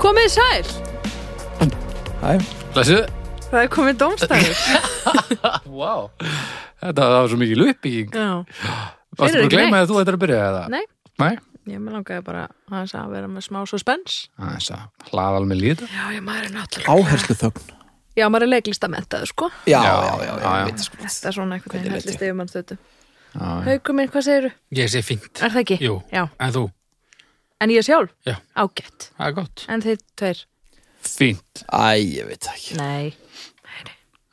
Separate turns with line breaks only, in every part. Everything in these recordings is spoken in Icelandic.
Komið sæl,
Hæ,
Læssu?
það er komið dómstæður
Vá. Þetta það var svo mikið uppbygging.
Já, eru
Varstu búin að
ekki
gleyma
neitt.
að þú ættir að byrja eða?
Nei.
Nei?
ég með langaði bara aðeins að vera með smá suspens
Þess að hlaða alveg líta.
Já, ég maður er náttúrulega
áherslu þögn
Já, maður er leiklista mentaður, sko
Já, já,
Já,
já,
já,
já,
já.
veit sko.
Þetta er svona einhvern veginn
Hvernig
hellist yfir mann stötu
Já, já.
Haukur minn, hvað segirðu?
Ég sé fínt.
Er það ekki?
Jú.
Já,
En þú?
en ég sjálf?
Já.
Ágætt,
Það er gott.
en þið tveir?
Fínt.
Æ, ég veit það ekki
Nei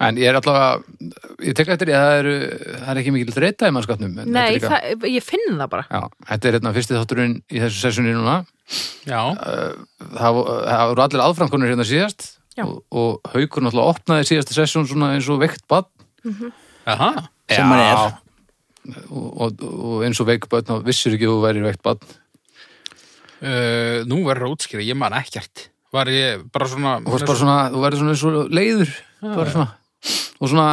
En ég er allavega, ég tek eftir ég að það, eru, það er ekki mikil dreita í mannskapnum. en þetta er
Nei,
líka-
það, ég finn það bara
Já, þetta er hérna fyrsti þátturinn í þessu sessunni núna. Eh,
Já.
Það vo- það voru allir aðframkonur hérna síðast
Já.
og, og haukur náttúrulega opnaði síðasta sessun svona eins og veikt badn
Aha.
Sem hann er.
og, og, og eins og veikt badn og vissir ekki að þú væri veikt badn
Uh, nú verður að útskýra, ég man ekkert. Var ég bara svona...
og þú varst bara svona, þú verður svona eins og leiður bara svona og svona,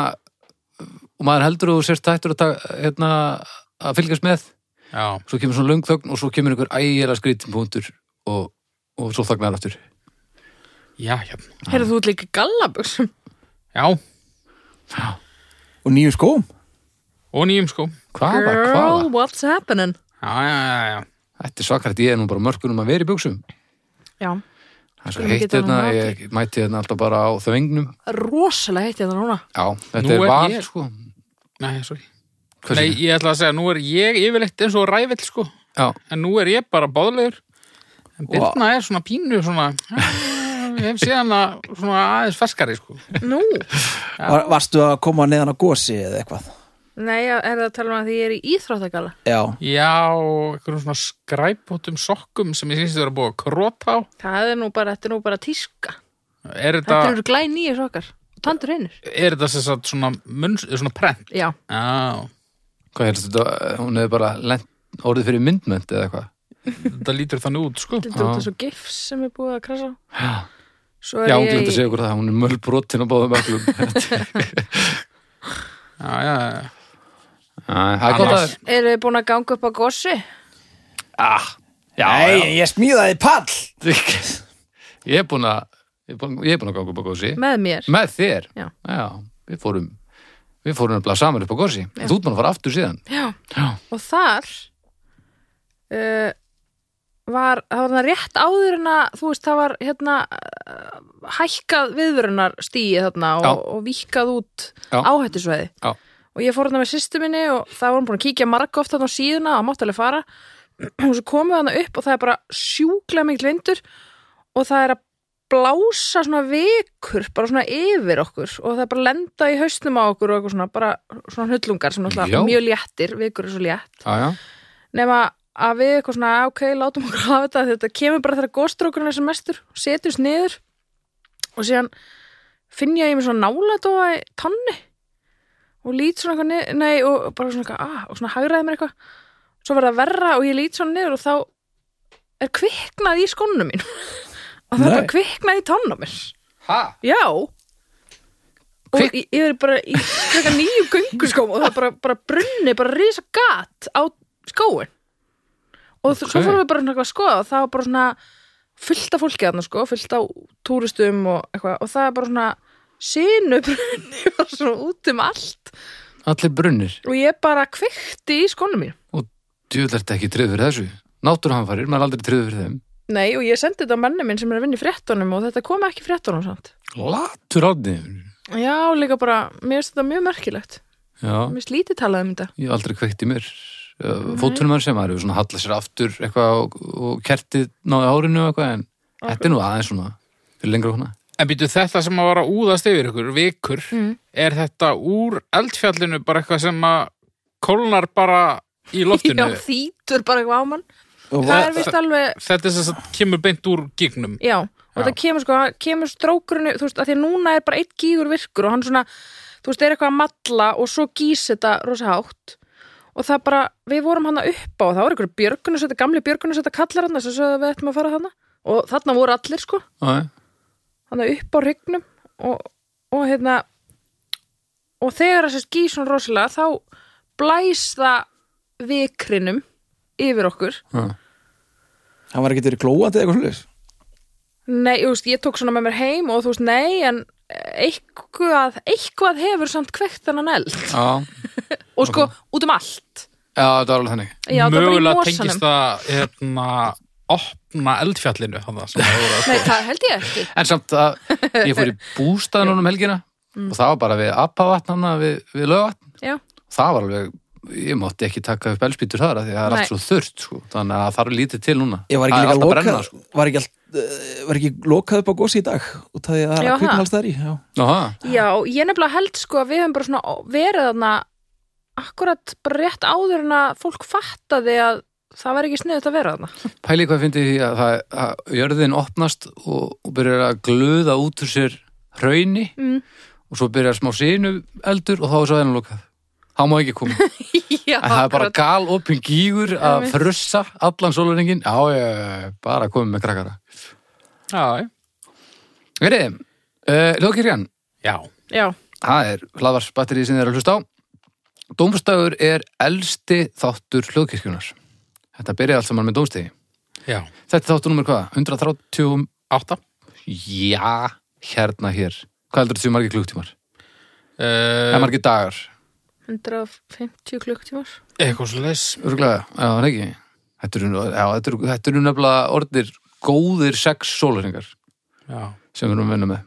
og maður heldur að þú sérst hættur að, taka, hérna, að fylgjast með
Já.
svo kemur svona löng þögn og svo kemur einhver ægjala skrítin punktur og, og svo þagnar aftur
Já, hérna.
Heyrðu þú út líka í gallabuxum?
Já.
Og nýju skóm
Og nýjum sko.
hvaða,
Girl,
hvaða
what's happening?
Já, já, já, já.
þetta er svakarætt, ég er nú bara mörkunum að vera í buksum
Já,
það er svo
Skulum
heitt
geta
hérna,
honum
ég mæti hérna alltaf bara á þvengnum
rosalega heitt ég það núna
já, þetta
Nú
er
er
val
ég-
sko
Nei, sorry.
Hvað
Nei,
segirðu?
ég ætla að segja, nú er ég yfirleitt eins og rævill sko.
já,
En nú er ég bara báðlegur. En
Vá.
Birna er svona pínu svona... Ég hef séð hana svona aðeins ferskari sko.
Nú,
Var, Varstu að koma neðan á gosi eða eitthvað
nei, er það að tala um að því ég er í íþróttagalla
Já,
Já, og einhverjum svona skræpótum sokkum sem ég sýnst að vera búið að króta á.
Það er nú bara, þetta er nú bara tíska
Er þetta,
Þetta eru glæn nýjir okkar Tandur einur
er þetta sem sagt svona, munns, svona prent?
Já,
Já,
hvað helst þetta, hún hefur bara lent, orðið fyrir myndmönd eða eitthvað
þetta lítur þannig út, sko.
þetta er út af svo gifs sem er búið að krasa á.
Já.
Svo er
já, hún
ég
glemt að
í-
segja okkur það, hún er möll brotin á báðum öllum
Já, já, já.
það er gott að
Annars-
Eru þið búin að ganga upp á gossi?
Ah, já,
Nei,
já.
ég smíðaði pall
ég er búin að ég er búin- ég er búin að ganga upp á gósi
Með mér?
með þér,
Já.
við fórum við fórum að blaða saman upp á gósi þú ert búin að fara aftur síðan
Já,
já,
og þar uh, var, það var það rétt áður en að, þú veist, það var hérna uh, hækkað viðvörunar stíi þarna og,
Já.
og víkkað út
Já.
áhættisveði.
Já.
Og ég fór hérna með sýstu minni og það var hún búin að kíkja marg oft þarna á síðuna og máttalega fara og svo komum við þarna upp og það er bara sjúklega mikil vindur og það er að blása svona vekur, bara svona yfir okkur og það er bara að lenda í hausnum á okkur og eitthvað svona, bara svona hullungar sem
Já.
náttúrulega mjög léttir, vekur er svo létt
já, já,
nema að við eitthvað svona, ok, látum okkur hafa þetta þetta kemur bara þegar góðstrókurinn er sem mestur setjumst niður og síðan finn ég að ég með svona nálatóa í tanni og lít svona eitthvað niður, nei, og bara svona eitthvað, ah, og svona hagraði mér eitthvað svo verða verra og ég lít svona niður og þá er kviknað í skónum mín og það er
Nei.
bara kviknað í tannum mér
Hæ?
já og
Kvik-
ég, ég er bara í svona nýju gönguskóm og það bara, bara brunni, bara risa gat á skóin og okay. svo
Ok.
fórum við bara svona eitthvað að skoða og það var bara svona fullt af fólki þarna sko, fullt á túristum og eitthvað og það er bara svona sinubrunni bara svona út um allt
allir brunnir
og ég bara kveikti í skónum mín
djúðlega er ekki tryggð fyrir þessu náttúruhamfarir, maður er aldrei tryggð fyrir þeim
nei og ég sendi þetta á menni minn sem er að vinna í fréttunum og þetta kom ekki í fréttunum samt
latur átniður
já líka bara, mér finnst þetta mjög merkilegt
já,
mér finnst lítið talað um þetta
ég hef aldrei kveikt í mér fótunum hans sem maður hefur svona hallað sér aftur eitthvað og, og kertið náði hárinu og eitthvað en þetta er nú aðeins svona fyrir lengra svona
En býtu þetta sem að vara að úðast yfir ykkur, vikur,
Mm.
er þetta úr eldfjallinu bara eitthvað sem að kólnar bara í loftinu?
já þýtur bara eitthvað á mann
Og
það
var,
er vist alveg
Þetta er sem sagt kemur beint úr gígnum.
Já, og
Já.
það kemur sko, kemur strókurinn þú veist, að því að núna er bara eitt gígur virkur og hann svona, þú veist, er eitthvað að matla og svo gís þetta rosa hátt og það bara, við vorum hann upp á og það voru einhverju björgunu, þetta gamli björgunu þetta kallar hann, þess að sögðu að við ættum að fara þarna og þarna voru allir sko,
Æ,
hann upp á hrygnum og, og hérna og þegar þess að gís svona rosalega þá blæs það vikrinum yfir okkur
já.
hann var ekki verið glóandi eða eitthvað svolítið
Nei, þú veist, ég tók svona með mér heim og þú veist, nei, en eitthvað, eitthvað hefur samt kveikt þennan eld
Já,
og sko, út um allt
já það var alveg þannig.
Já, það var bara í
Mögulega
mosanum
tengist það hérna, opna eldfjallinu hann, sem það voru að
Nei, það held ég ekki
En samt að ég fór í bústæðan honum um helgina og það var bara við appavatn hann við, við lögavatn.
Já.
Það var alveg, ég mátti ekki taka upp elspýtur þar af því að það er
Nei.
allt svo þurrt, sko. Þannig að það er lítið til núna.
Ég var ekki
Það er
líka
allt að
lokað
brenna, sko.
var, ekki, allt, eh, var ekki lokað upp á gósi í dag út af því að það er
Já,
að kvikna
það.
alls þær í já.
Aha,
Já, ég nefnilega held sko að við hefum bara svona verið þarna akkurat bara rétt áður en að fólk fattaði að það var ekki sniðut að vera þarna
pæli hvað fyndi því að, það, að jörðin opnast og, og byrjar að glöða út úr sér hrauni
Mm.
og svo byrjar smá sinu eldur og þá er svo þennan lokað. Það má ekki koma.
Já,
En það er bara
akkurat.
gal opin gígur að
Einmitt.
frussa allan sólurningin. Já, já, já, já, bara komið með krakkara.
Já,
Verið, uh, Ljóðkirkjan,
já.
Já,
það er hlaðvarsbatterið sem þið eru að hlusta á. Dómstagur er elsti þáttur Ljóðkirkjunar. Þetta byrjaði allt saman með dómstegi.
já.
Þetta er þáttur nummer hvað? 130,
Átta.
já, hérna hér. Hvað heldur þetta séu margir klukktímar?
Uh,
Eða margir dagar?
150 klukktímar
Eh, eitthvað svo leys.
Örgulega, já, það er ekki. Þetta eru, nú- já, þetta eru, þetta eru nefnilega orðir góðir sex sólurningar
Já.
sem við erum að vinna með.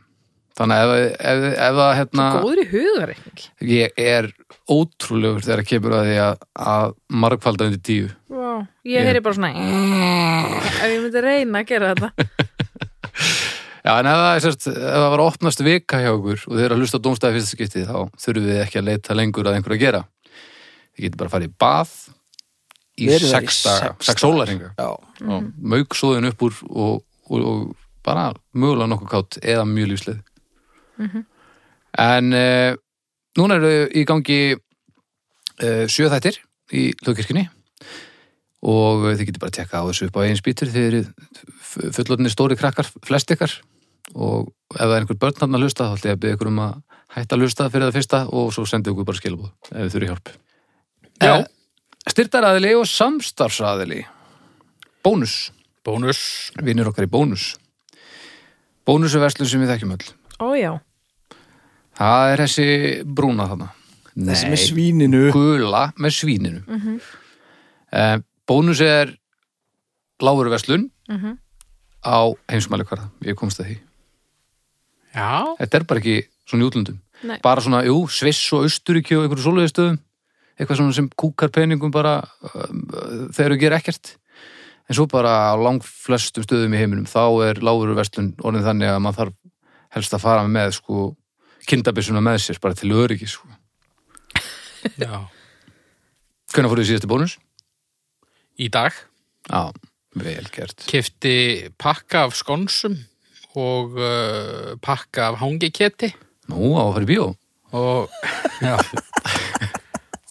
Þannig að ef, ef, ef að hérna...
Góður í hugareikning
ég er ótrúlegur þegar að kemur að því að, að margfalda undir tíu
Vá,
Ég-
ég heyri bara svona "Eh," Ef ég myndi reyna að gera þetta
já en ef það, er sérst, ef það var að opnast vika hjá okkur og þið eru að hlusta á dómstæði fyrsta skipti þá þurfum við ekki að leita lengur að einhverju að gera þið getur bara að fara í bað í
Verið þar í
sex daga,
sex
sex sólaringa
Já.
mm. mauk svoðin upp úr og, og, og bara mögulega nokkuð kátt eða mjög lífslið en e, núna eru í gangi e, sjö þættir í hlugkirkjunni og eh, þið getur bara að tekka á þessu upp á einn spýtur þið eru fullotni stóri krakkar flest ykkar og ef það er einhver börn hann að hlusta þá ætlum ég að byrja ykkur um að hætta að hlusta fyrir það fyrsta og svo sendið ykkur bara skilabóð ef þið þurfið hjálp
Já.
Eh, Styrtaraðili og samstarfsaðili Bónus
Bónus.
vinnur okkar í bónus bónus er verslun sem við þekkjum öll
Ó já,
það er þessi brúna þarna
Þessi með svíninu
gula með svíninu mm bónus er lágur verslun
Mhm.
á heimsmæli hverða ég komst að því,
Já.
þetta er bara ekki svona í útlöndum,
Nei.
bara svona jú, Sviss og Austuríki og einhverju svoleiðistöðum eitthvað svona sem kúkar peningum bara um, uh, þegar þau gera ekkert en svo bara á langflestum stöðum í heiminum þá er lágur verslun orðin þannig að maður þarf helst að fara með sko kindabissuna með sér bara til öryggi sko.
Já.
hvernig fóruðu síðasti bónus?
Í dag
Já, vel gert
kefti pakka af skonsum og uh, pakka af hangiketi
Nú, á að fara í bíó
og já.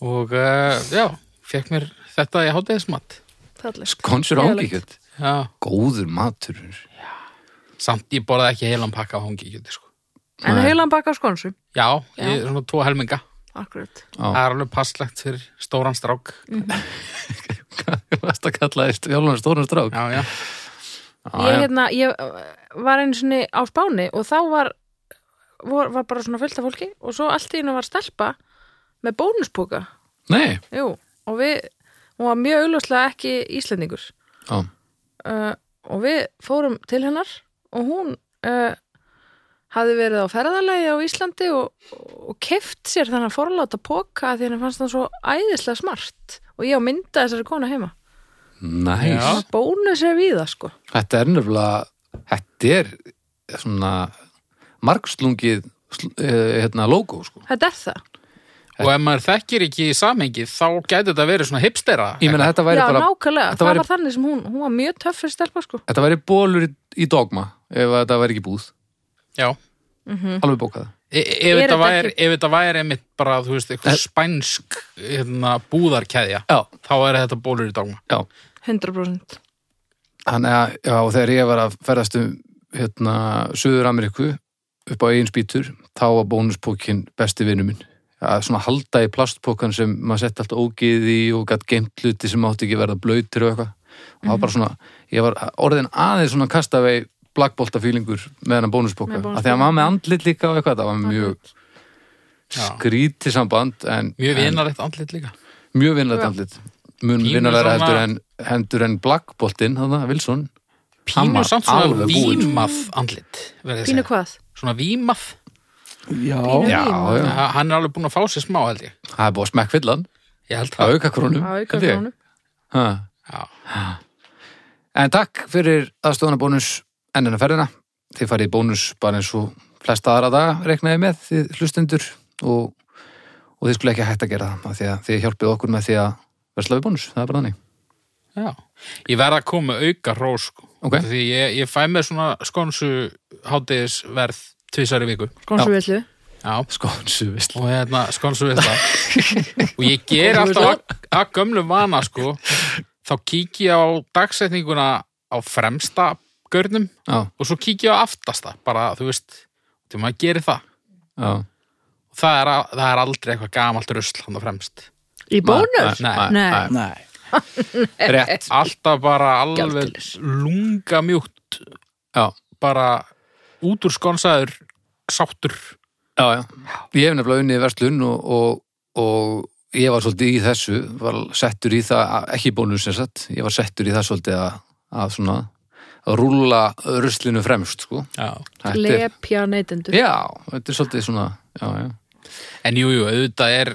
og uh, já, fekk mér þetta í hátæðismat.
fallegt
Konsur ángikjöld
Já.
Góður matur
Samt ég borði ekki heilan pakka af hangiketi sko.
En heilan baka á skonsum
Já,
Já.
Ég, svona tvo helminga.
Akkurat
Já.
Það er alveg passlegt fyrir stóran strák.
Vast að kalla þér Jálfan Stórnar Strák Ah,
Já, já.
ég, hérna, ég uh, var einu sinni á Spáni og þá var, var, var bara svona fullt af fólki og svo allt í hennu var stelpa með bónuspóka
Nei,
Jú, og við, hún var mjög augljóslega ekki Íslendingur
já,
uh, og við fórum til hennar og hún uh, hafði verið á ferðalagi á Íslandi og, og keft sér þannig að forláta póka því henni fannst hann svo æðislega smart og ég á mynda þessari konu heima
næs
Já.
bónus er við það sko
Þetta er nefnilega Þetta er svona margslungið sl- eh, hérna, logo sko.
Þetta er það
Og ef maður þekkir ekki samengið, þá gæti þetta verið svona hipstera.
Ég meina þetta væri
Já,
bara
nákvæmlega,
þetta
það
væri-
var þannig sem hún hún var mjög töffur stelpa sko
Þetta væri bólur í, í dogma ef að þetta væri ekki búð
Já.
Mm.
Alveg bókað
E ef,
Er
þetta
þetta
væri,
ekki-
ef þetta væri einmitt bara, þú veist, eitthvað spænsk hérna, búðarkæðja,
Já,
þá er þetta bólur í dagma.
já
100%
Þannig að, já, og þegar ég var að ferðast um hérna, Suður Ameríku upp á eigin spýtur, þá var bónuspókin besti vinnu minn. Að svona halda í plastpókan sem maður sett allt ógið í og gætt geimt hluti sem átti ekki verða blöytir og eitthvað. Og það var bara svona, ég var orðin aðeins svona kastavei blagbolta fílingur með hennan bónusbóka
Með bónusbóka.
að því að hann var með andlit líka og eitthvað það var mjög
Já.
skrítið samband en,
Mjög
en
vinarlegt andlit líka.
mjög vinalegt
Já.
andlit mun
Pínu
vinalegra
svona-
heldur en hendur en blagboltin, þannig að Wilson Hann
Pínu
var
samt svona
alveg búinn.
vímað andlit, verði að
Pínu
segja.
hvað?
Svona vímað.
Já,
Pínu
Já,
vín.
já.
Ha- Hann er alveg búin að fá sér smá, held ég.
það er búið að smekkfyllan
Ég held
að
það.
auka krónum
Á
Hm? held ég.
aukakrónum.
Ha.
Já.
En takk fyrir aðstofana bónus ennina ferðina. Þið farið í bónus bara eins og flesta aðra daga reiknaði með þið hlustendur og, og þið skulle ekki hægt að gera það af því að þið hjálpið okkur með því að versla við bónus, það er bara þannig.
Já. Ég verð að koma með auka rós, sko.
Ok.
Því ég, ég fæ með svona skonsu hátíðisverð tvisar í viku.
Skonsuvillið.
Já.
Skonsu, veist.
og hérna skonsu við það og ég ger alltaf að- að gömlu vana sko þá kík ég á dagsetninguna á fremsta görnum
Já,
og svo kík ég á aftasta bara þú veist, þú maður gerir það
já.
og það er, að- það er aldrei eitthvað gamalt rusl hann á fremst
Í bónus?
Nei.
Nei. Eh,
nei
Rétt.
alltaf bara alveg
Gjaldeyris.
lunga mjúkt
Já,
bara út úr skonsaður sáttur
já, já. Ég hef nefnilega unnið verslun og, og, og ég var svolítið í þessu, var settur í það, ekki bónus eins og ég var settur í það svolítið að, að svona að rúlla ruslinu fremst, sko.
já.
Þetta er-
Lepja neytendur.
Já, þetta er svolítið svona já, já.
en jújú, jú, auðvitað er,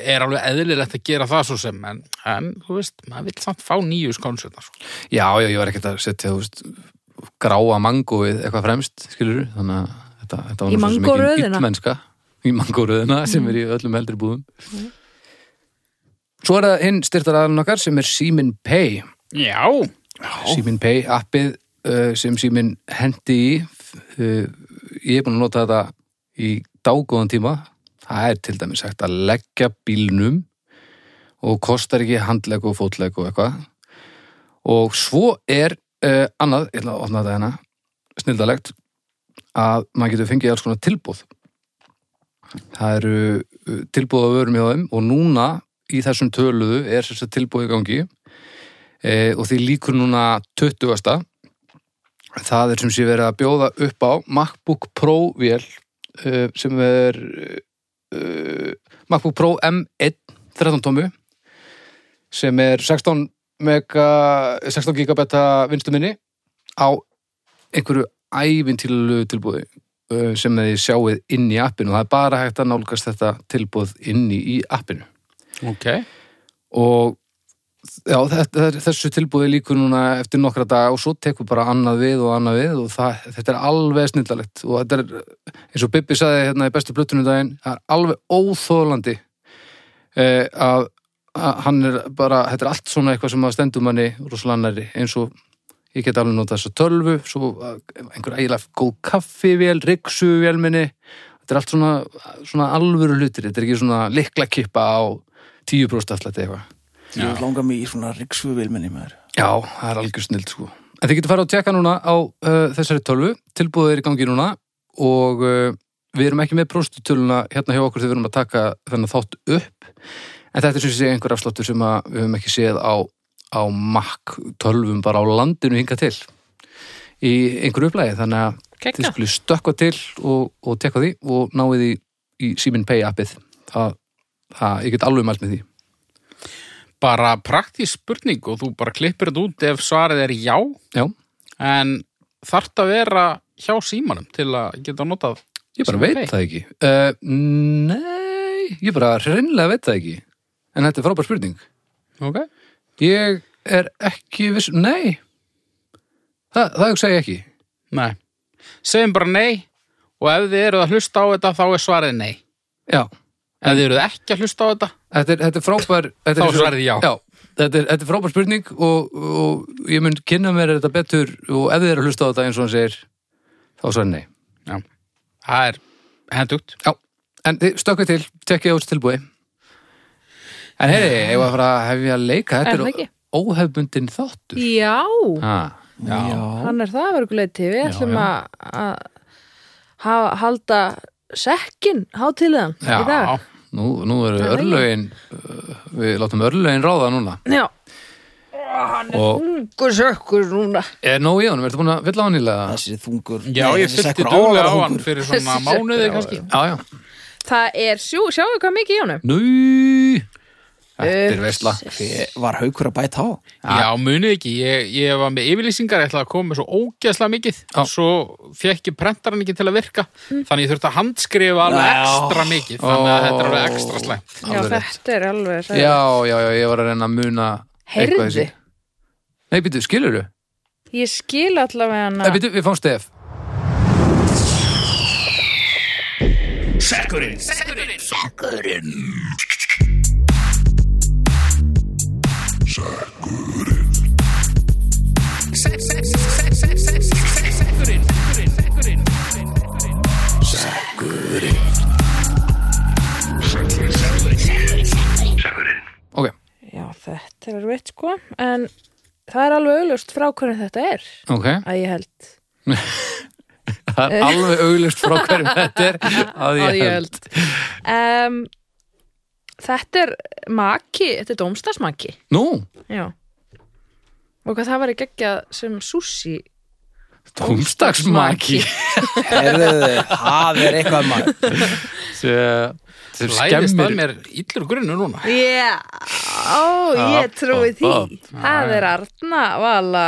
er alveg eðlilegt að gera það svo sem en, en þú veist, maður vill samt fá nýju skonsunar sko.
já, já, ég var ekkert að setja þú veist, gráa mangóið eitthvað fremst skilur, þannig að þetta, þetta
Í
var nú svo sem engin
mangóröðina? Mm.
illmennska í mangóröðina sem er í öllum eldri búðum Svo er það hinn styrtaraðan okkar sem er Simin Pay
Já,
Simin Pay appið uh, sem Simin hendi í uh, ég er búin að nota þetta í dágóðan tíma það er til dæmis sagt að leggja bílnum og kostar ekki handleg og fótleg og eitthvað og svo er uh, annað, ég ætla að opna þetta hérna snildalegt að maður getur fengið alls konar tilbúð það eru uh, tilbúð á vörum hjá þeim og núna í þessum töluðu er þess að tilbúð í gangi e, og því líkur núna 20. Það er sem sé verið að bjóða upp á MacBook Pro vél e, sem er e, MacBook Pro M1 13 tómu sem er 16, mega, 16 gigabetta vinstu minni á einhverju ævintilu tilbúði eh, sem þið sjáið inn í appinu það er bara hægt að nálgast þetta tilbúð inn í í appinu
ok
og já, þetta, þessu tilbúði líkur núna eftir nokkra daga og svo tekur bara annað við og annað við og það, þetta er alveg snillalegt og þetta er, eins og Bibbi saði hérna í bestu plötunum daginn, það er alveg óþólandi eh, að, að hann er bara, þetta er allt svona eitthvað sem að stendur manni rosalega nærri eins og ég get alveg notað þessa tölvu svo eh, einhver ægilega góð kaffivél ryksuvél minni þetta er allt svona, svona alvöru hlutir þetta er ekki svona likla kippa á 10% alltaf eitthvað
Ég langar mig í svona riksfugvilminni maður
Já, það er algjör snild sko. En þið getur farið að tjekka núna á uh, þessari tölvu, tilbúið er í gangi núna og uh, við erum ekki með próstutöluna hérna hjá okkur þegar við erum að taka þennan þátt upp en þetta er sem sé einhver afsláttur sem að við höfum ekki séð á, á Mac tölvum bara á landinu hinga til í einhverju upplægi þannig að þið
Kekka.
skulle stökkva til og, og tekka því og náið í, í Simin Pay appið það, það, ég get alveg mælt með því
Bara praktísk spurning og þú bara klippir þetta út ef svarið er já
Já,
en þarft að vera hjá símanum til að geta notað
Ég bara
Sem
veit
ok.
það ekki. Uh, nei, ég bara hreinlega veit það ekki. En þetta er frábær spurning.
Ok
Ég er ekki viss, nei. Þa, það hugsa ég ekki.
Nei, segjum bara nei og ef þið eruð að hlusta á þetta þá er svarið nei
Já,
Ef þið eruð ekki að hlusta á þetta
þetta er, þetta er frábær...
Þá
Þetta
er svarið já.
þetta er, þetta er frábær spurning og, og ég mun kynna mér þetta betur og ef þið eru að hlusta á þetta eins og hann segir, þá er svarið nei.
Já, það er hendugt
Já, en þið stökkið til, tekkið á þessu tilbúi. En heyri, ég var að fara að hefja að leika,
Er það
þetta
ekki?
er óhefbundin þáttur.
Já,
Ah.
hann er það að vera ykkur leiti. Við ætlum
já.
að- að ha- halda sekkin hátíðlegan í dag.
Nú, nú eru
Það er
örlögin, uh, við látum örlögin ráða núna.
Já, hann er
Og-
ungur sökkur núna
Er nóg í honum, ertu búin að fylla á hann ílega?
þessi þungur
Já,
Nei,
ég
þessi
fylgti
sekkur
duglega á
áhugaverður
hann
hungur.
fyrir svona
Þessi
mánuði
sekkur
kannski.
Já, já.
það er, sjú, sjáu hvað mikið í honum
Nú, þetta er veistla.
Ég var haukur að bæta á
Já, munið ekki, ég, ég var með yfirlýsingar, ég ætlaði að koma með svo ógeðslega mikið, svo fekk ég prentaran ekki til að virka,
Mm.
þannig ég þurfti að handskrifa alveg
Já.
ekstra mikið, þannig að þetta er alveg ekstra slæmt.
já,
Alveg rétt.
þetta er alveg það er-
Já, já, já, ég var að reyna að muna
Heyrðu.
eitthvað þessi. Nei, býtu, skilur du?
ég skil allavega hana
Nei, býtu, við fáum stef. Ok,
já, þetta er veit sko en það er alveg auðlust frá hvernig þetta er
ok.
að ég held
Það er alveg auglust frá hverjum þetta er að
Að
ég
ég
held.
um, þetta er maki, þetta er dómstagsmaki
Nú,
já og hvað það var ekki ekki sem sushi
tómstagsmaki.
Heyrðu, það er eitthvað maður
Sem
Læðist að
skemmir.
mér illur grunnu núna.
já, ó, ég trúi því
ah,
það er Arna Vala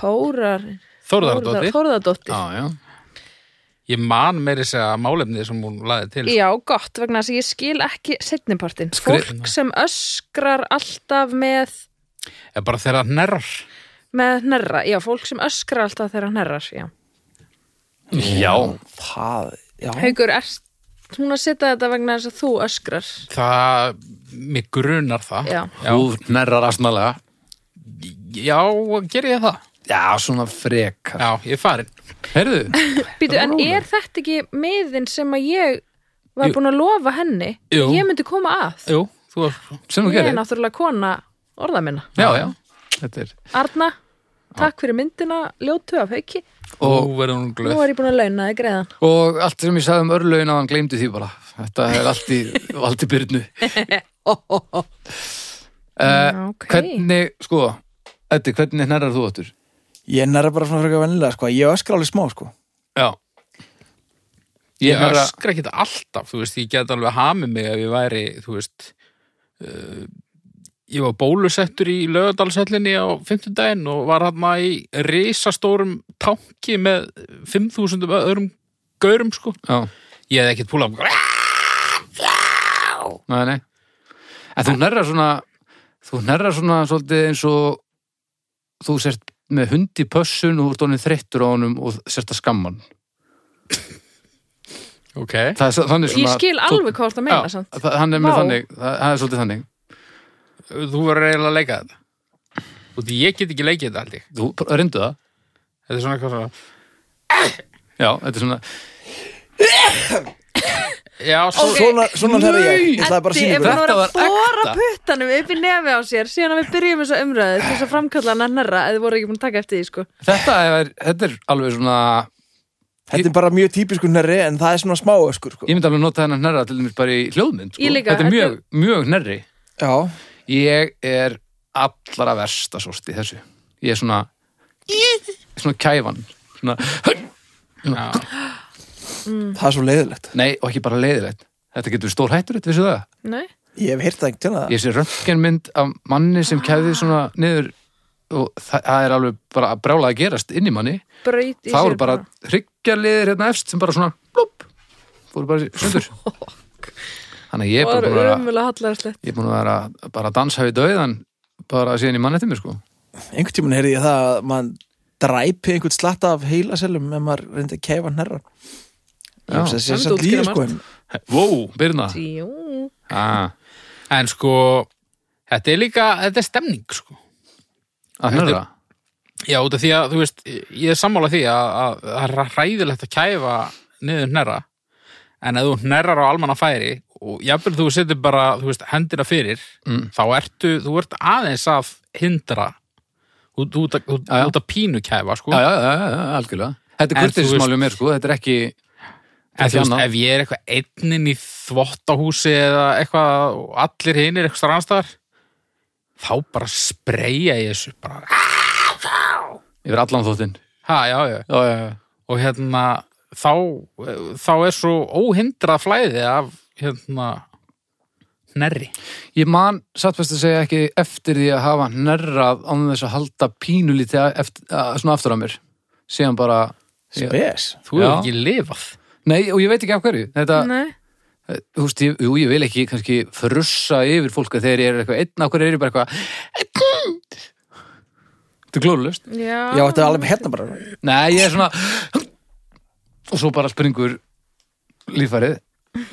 Þórar
Þórðardóttir,
Þórðardóttir
Já, já.
ég man meiri segja málefnið sem hún laði til.
Já, gott, vegna þess að ég skil ekki setnipartin.
Skri-
Fólk sem öskrar alltaf með,
Ég bara þeirra nærrar.
með hnerra. Já, fólk sem öskrar alltaf þegar hnerrar, já.
Já.
Það, já
Haukur, er hún að setja þetta vegna þess að þú öskrar?
Það, mig grunar það.
Já.
Þú nærrar astnalega.
Já, ger ég það?
Já, svona frekar.
Já, ég er farin.
Heyrðu,
Býtu, en er þetta ekki miðin sem að ég var búin að lofa henni?
Jú.
Ég myndi koma að.
Jú, þú varst...
sem þú
Ég er
gerir.
náttúrulega kona orða minna.
Já, já. Þetta er.
Arna, takk fyrir myndina, ljótu af hauki.
Og verður hún
Nú
glöð.
er ég búin að launa þig greiðan.
Og allt sem ég sagði um örlögin að hann gleymdi því bara. Þetta er allt í, allt í byrnu. uh,
Já, ok.
Hvernig, sko, Eddi, hvernig nærrar þú áttur?
Ég næra bara svona frekar vennilega, sko Ég öskra alveg smá, sko
Já. Ég,
Ég
nærra,
öskra ekki alltaf, þú veist, ég get alveg hamið mig ef ég væri, þú veist, uh, ég var bólusettur í lögadalshellinni á 50 daginn og var hann í risastórum tanki með 5.000 öðrum gaurum, sko.
já.
Ég hefði ekkert púlað,
Nei, nei. En þú nærra svona, þú nærra svona svolítið eins og þú sért með hund í pössun og þú ert honum þreyttur á honum og sért að skamman.
ok,
Það er svo- þannig
Ég
svona...
skil alveg hvað þú ert að meina, samt.
það, hann er með
Vá.
þannig, það, það er svolítið þannig.
þú verður eiginlega að leika þetta. Og því ég get ekki leikið þetta aldrei.
Þú reyndu það.
Þetta er svona eitthvað svona,
Já, þetta er svona...
já, svo,
Svona, svona þegar ég,
Nei.
ég ætlaði bara að
Eddi
sína
er
ykkur
búin
það.
að
bara- Þetta
vera
var
að bóra
ekta.
puttanum upp í nefi á sér síðan að við byrjum þessa umræðu til þess að framkalla hann að nærra eða voru ekki búin að taka eftir því sko
Þetta er, þetta er alveg svona...
Þetta er bara mjög típisku nærri en það er svona smá öskur, sko
Ég myndi alveg nota þennan nærra til dæmis bara í hljóðmynd. Sko.
Ég líka,
þetta er
þetta
mjög, mjög nærri.
Já,
Ég er allra versta svolítið í þessu. Ég er svona... Svona kæfan. Svona...
já,
það er svo leiðilegt
Nei, og ekki bara leiðilegt. Þetta getur stór hættur, þetta vissu það.
Nei,
Ég hef heyrt það einhvern tíðan að
Ég sé röntgenmynd af manni sem kæði svona niður og það, það er alveg bara að brjála að gerast inn í manni.
bröyti
Það voru bara hryggjarliðir hérna efst sem bara svona blúp, fóru bara í sundur. Þannig að ég er bara
voru
búin að vera,
umvölu hallarslegt
ég er búin að vera bara að dansa við dauðan bara síðan í mannetið mér sko.
einhvern tímann heyrði ég það að mann dræpi einhvern slatta af heilaselum ef maður reyndi að kefa hann herra
Já.
það sé
Það myndi
samt
útskýra
líði sko en
Vó, Birna.
Jú,
Ah,
en sko, þetta er líka, þetta er stemning, sko.
að hörra.
Já, út af því að, þú veist, ég er sammála því að, að það er hræðilegt að kæfa niður hnerra, en ef þú hnerrar á almanna færi og jafnvel þú setur bara, þú veist, hendina fyrir,
Mm.
þá ertu, þú ert aðeins að hindra út, út, að- út,
Já, já.
út að pínu kæfa, sko.
Já, já, já, já, já, algjörlega. Þetta er
En þú
kurtismálið mér sko, þetta er ekki...
en þú
ekki
veist,
annað.
ef ég er eitthvað einninn í þvottahúsi eða eitthvað og allir hinir eitthvað rannstæðar, þá bara spreyja ég þessu bara,
Yfir allan þóttinn.
ha, já, já,
Já, já, já.
og hérna þá, þá er svo óhindrað flæði af hérna nærri
Ég man, satt best að segja ekki eftir því að hafa nærrað án þess að halda pínulítið eftir, að, svona aftur á mér. Síðan bara, Já.
Spes
þú hefur
Já.
ekki lifað
nei, og ég veit ekki af hverju. Þetta,
Nei,
þú veist, ég, jú, ég vil ekki kannski frussa yfir fólk að þeir eru eitthvað einn, af hverju eru bara eitthvað Þetta er glóðlust.
já,
Já, þetta er alveg hérna bara
Nei, ég er svona og svo bara springur lífærið,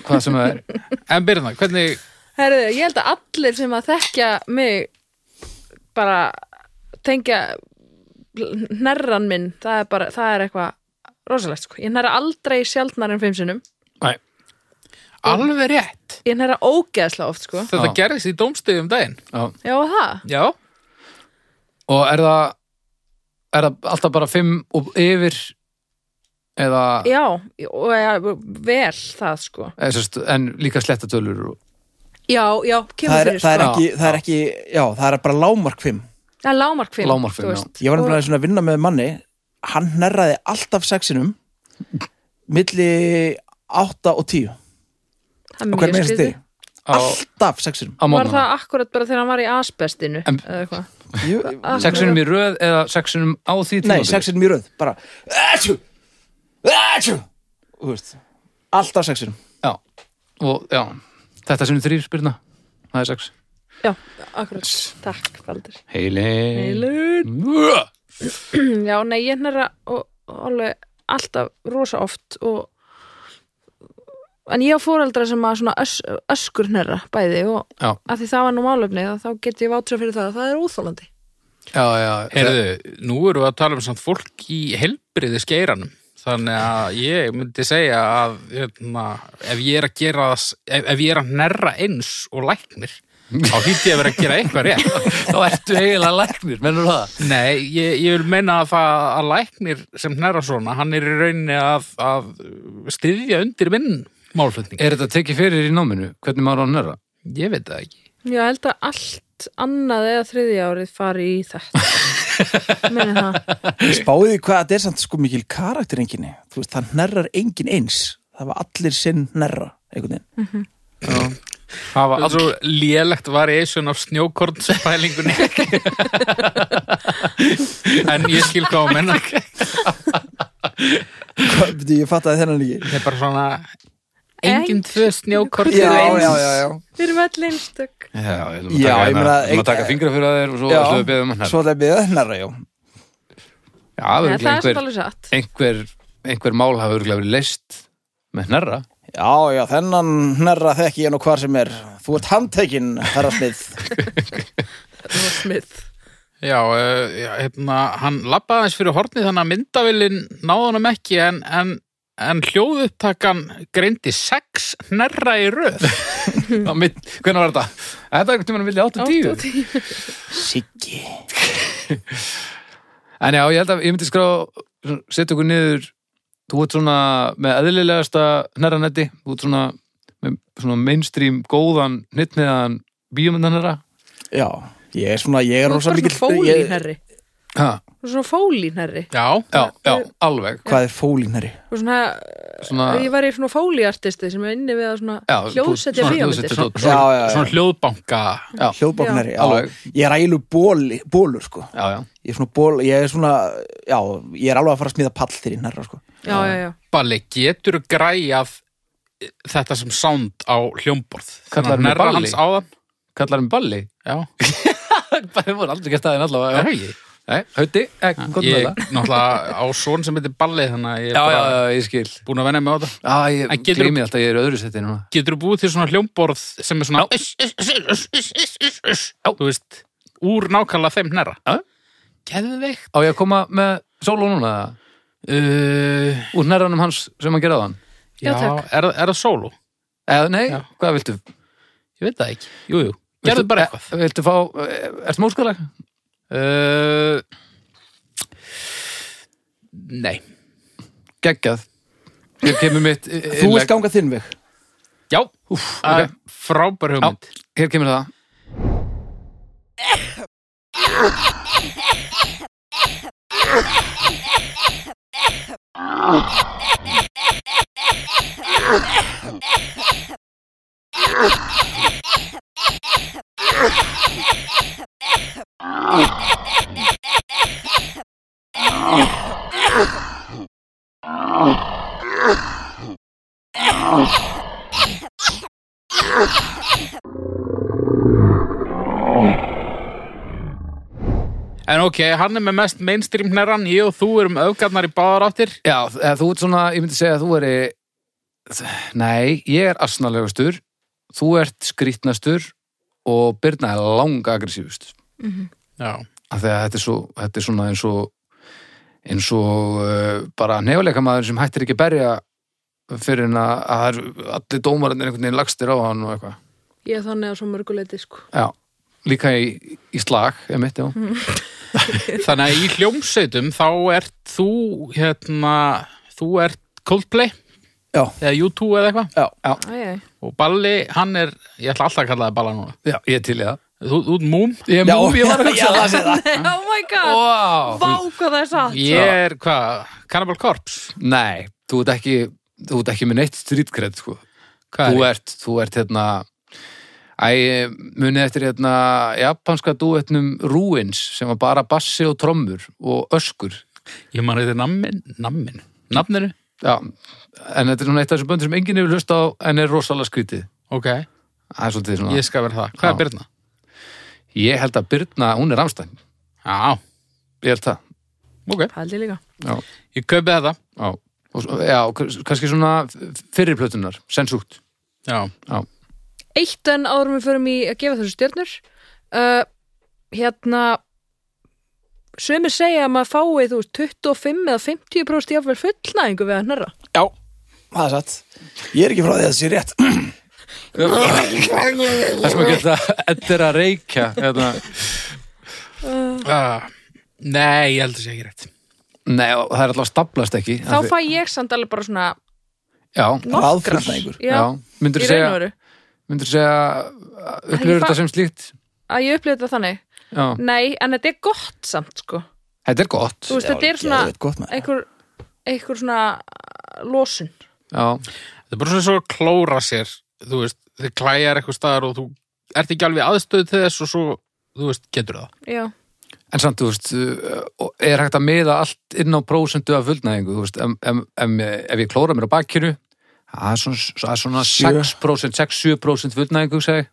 hvað sem það er.
en Birna, hvernig,
Herðu, ég held að allir sem að þekkja mig bara tengja nærran minn, það er bara, það er eitthvað rosalegt, sko. Ég nærra aldrei sjaldnar en fimm sinnum.
Nei.
alveg rétt
Ég nærra ógeðslega oft, sko.
þetta
Já.
gerðist í dómstöðum daginn
Já.
Já, það.
já,
Og er það er það alltaf bara fimm og yfir eða
Já, og ja, vel það, sko.
eða sérst, en líka slettatölur og,
Já, já, kemur
það er,
fyrir,
það, er
sko.
sko.
ekki, það er ekki, já, það er bara lámark 5
Það er lámark fimm,
Lágmark fimm,
þú
já.
veist.
Ég var
Og-
nefnilega svona að vinna með manni Hann hnerraði alltaf sexinum Milli 8 og 10
það er
Og
mjög
hvernig meðist
skrítið.
þið?
á,
Alltaf sexinum
á
Var
mótnana.
það akkurat bara þegar hann var í asbestinu?
En-
eða eitthvað?
Jú,
Ah.
Sexunum í röð eða sexunum á því
Nei,
tímabili?
sexinum í röð Bara Ætjú Ætjú Þú veist Alltaf sexinum
Já. Og, já. Þetta sem þrýr spyrna það er sex
Já, akkurat. Takk, Baldur.
Heili,
Heilur.
Heili.
Mm, Já, nei, ég nærra og, og alveg alltaf rosa oft og en ég á fóreldra sem að svona ös, öskur nærra bæði og
Já.
að því það var nú málefnið og þá get ég vátra fyrir það að það er úþólandi.
Já, já,
heyrðu, nú eru við að tala um samt fólk í helbriði skeiranum þannig að ég myndi segja að hérna, ef ég er að gera það, s- ef, ef ég er að nerra eins og læknir þá hýtti ég að vera að gera eitthvað rétt
þá ertu eiginlega læknir, mennur það
Nei, ég, ég vil meina að það að læknir sem nærra svona, hann er í rauninni að, að styðja undir minn málflutning.
Er þetta tekið fyrir í náminu? Hvernig maður á hann er það?
Ég veit það ekki.
Já, ég held að allt annað eða þriðja árið fari í þetta. Meni það.
Spáði hvað þetta er samt sko mikil karakterenginni Þú veist, það hnerrar engin eins Það var allir sinn hnerra Einhvern veginn
Það var
Það er
all...
svo lélegt variation af snjókornspælingunni. en ég skil hvað að menna.
Hvað, veitu, Ég fattaði þennan ekki
Þetta er bara svona, engin tvö snjókorn
Já,
eru eins.
já, já, já
Við erum öll einstök.
Já, ég ætlum
Já, ég meina,
ætlum að taka
ein-
fingra fyrir þér og svo
Já.
ætlum við að beða um hann Já,
Svo það er beðið hnerra, já
það
Nei,
er
það er
einhver,
svolítið alveg satt.
einhver, einhver mál hafa örgulega verið leist með hnerra
Já, já, þennan hnerra þekki ég nú hvar sem er. Þú ert handtekinn, herra smið.
Þetta var smið.
Já, uh, já hérna, hann labbaði aðeins fyrir hornið þannig að myndavillin náði honum ekki en, en, en hljóðupptakan greindi sex nærra í röð.
Á mitt- Hvernig var þetta? Þetta er einhvern tímann að vilja 8 og
Átt
10
og tíu.
Siggi.
En já, ég held að ég myndi skrá setja okkur niður þú ert svona með eðlilegasta hnerranetti, þú ert svona með svona mainstream góðan hnittniðan bíómyndanherra
Já, ég er svona, ég er
Þú er
rosa
bara
mikill...
svona fóli
ég-
nærri.
Ha,
Þú er svona fóli nærri.
Já,
Já, já, alveg
Hvað er fólínherri?
Þú er svona,
Svona-
ef ég væri svona fóliartisti sem er inni við að svona
Ah. Já,
hljóðsetja
svona
bíómyndir.
hljóðsetja dót.
Já, já, já.
svona hljóðbanka
Já,
Hljóðbóknari, já.
Alveg.
Ég er ægileg bóli, bólur, sko.
já, já
Ég er svona ból, ég er svona, já, ég er alveg að fara að smíða pall þeirri hnerra, sko.
Já, já, já.
Balli, getur græjað þetta sem sound á hljómborð
Kallar mig
nærra
Balli?
hans á það
Kallar hann balli?
Já,
Það voru aldrei gert aðeins allavega
það
já.
er ég
Nei, hauti, ekki, gott með
Ég
það
náttúrulega á svon sem heitir Balli þannig að ég
Já,
er
já,
bara
já, ég skil
búin að venja mig á það
Já, ég
En getur-
glými alltaf, ég er í öðru seti núna
Getur búið til svona hljómborð sem er svona uss, uss, uss, uss, uss, uss, uss, uss, Þú veist, úr nákvæmlega þeim nærra
Já.
Geðveikt
Á ég að koma með sóló núna eða?
uh,
Úr nærranum hans sem hann geraði hann
Já,
Já,
takk.
er, er það solo?
Eða, nei,
Já.
hvað viltu?
Ég veit það ekki Jú, jú, gerðu
Viltu-
bara eitthvað
e- Viltu fá, e- ertu móskalag?
uh, Nei
Geggjað Hér kemur mitt eh, i-
Þú
innlegg.
veist ganga þinn veg.
Já, Úf,
ok.
frábær hugmynd
Hér kemur það
En ok, hann er með mest mainstream hnerran, ég og þú erum öfgarnar í báðar áttir.
Já, eða þú ert svona, ég myndi segja að þú eri Nei, ég er asnalegastur Þú ert skrýtnastur og Birna er langa aggressífust
Já.
af því að þetta er, svo, þetta er svona eins og eins og uh, bara nefnileika maður sem hættir ekki að berja fyrir en að, að það eru allir dómarinn einhvern veginn lagstir á hann og eitthvað
Ég er þannig að svo mörguleiti, sko.
Já, líka í, í slag emitt, já
Þannig að í hljómsveitum þá ert þú, hérna, þú ert Coldplay
Já.
eða U2 eða eitthvað.
Æ, æ.
Og Balli, hann er, ég ætla alltaf að kalla það Balla núna.
Já, ég er til í það
Þú, þú ert Moom.
Ég er
Já,
múmi, ég var að
já,
hugsa
það sé það.
Oh my god,
Vá,
vá hvað það er satt.
Ég er, hvað, Cannibal Corpse?
Nei, þú ert ekki þú ert ekki með neitt strýtkred sko.
Hvað
þú
er ég?
ert, þú ert hérna Æ, munið eftir hérna japanska duetnum Ruins sem var bara bassi og trommur og öskur
Ég man þetta nammin, nammin, nafninu?
Já, en þetta er svona eitt af þessum böndum sem enginn hefur hlust á en er rosalega skrítið.
Ok,
Það er svolítið svona.
ég skal vera það. Hvað
Já.
er Birna?
Ég held að Birna, hún er Ramstein.
Já,
Ég held það.
ok,
Pældi líka.
Já,
ég kaupi þetta.
já. Og, svo- já k- kannski svona fyrirplötunar, sensúkt.
Já,
Eitt en áður en við förum í að gefa þessu stjörnur. Uh, hérna, sömur segja að maður fái, þú veist, 25 eða 50% jáfnvel fullnæðingu við að hnerra.
Já, það er satt Ég er ekki frá því að það sé rétt
Það sem að geta eddir að reykja. hérna. Eða,
uh, nei, ég held að sé ekki rétt.
nei, og það er alltaf staplast ekki.
Þá fæ ég samt alveg bara svona
Já,
nokkrar.
Ráðfullnægingur.
Já,
Myndur
í
þú
raun og
segja,
veru.
myndur segja upplifur
Ég fa-
þetta sem slíkt?
Að ég upplýði þetta þannig.
Já.
Nei, en þetta er gott samt, sko.
Þetta er gott.
Þú veist, þetta er svona
geðveikt gott, maður.
einhver, einhver svona losun.
Já,
Það er bara svona svo að klóra sér, þú veist, þið klæjar eitthvað staðar og þú ert ekki alveg aðstöðu til þess og svo, þú veist, getur það.
Já.
en samt, þú veist, uh, er hægt að miða allt inn á prósentu af fullnæðingu, þú veist, em, em, em, ef ég klóra mér á bakkinu, það er svona, það er svona
Sjö.
6%, 6-7% fullnæðingu, segi,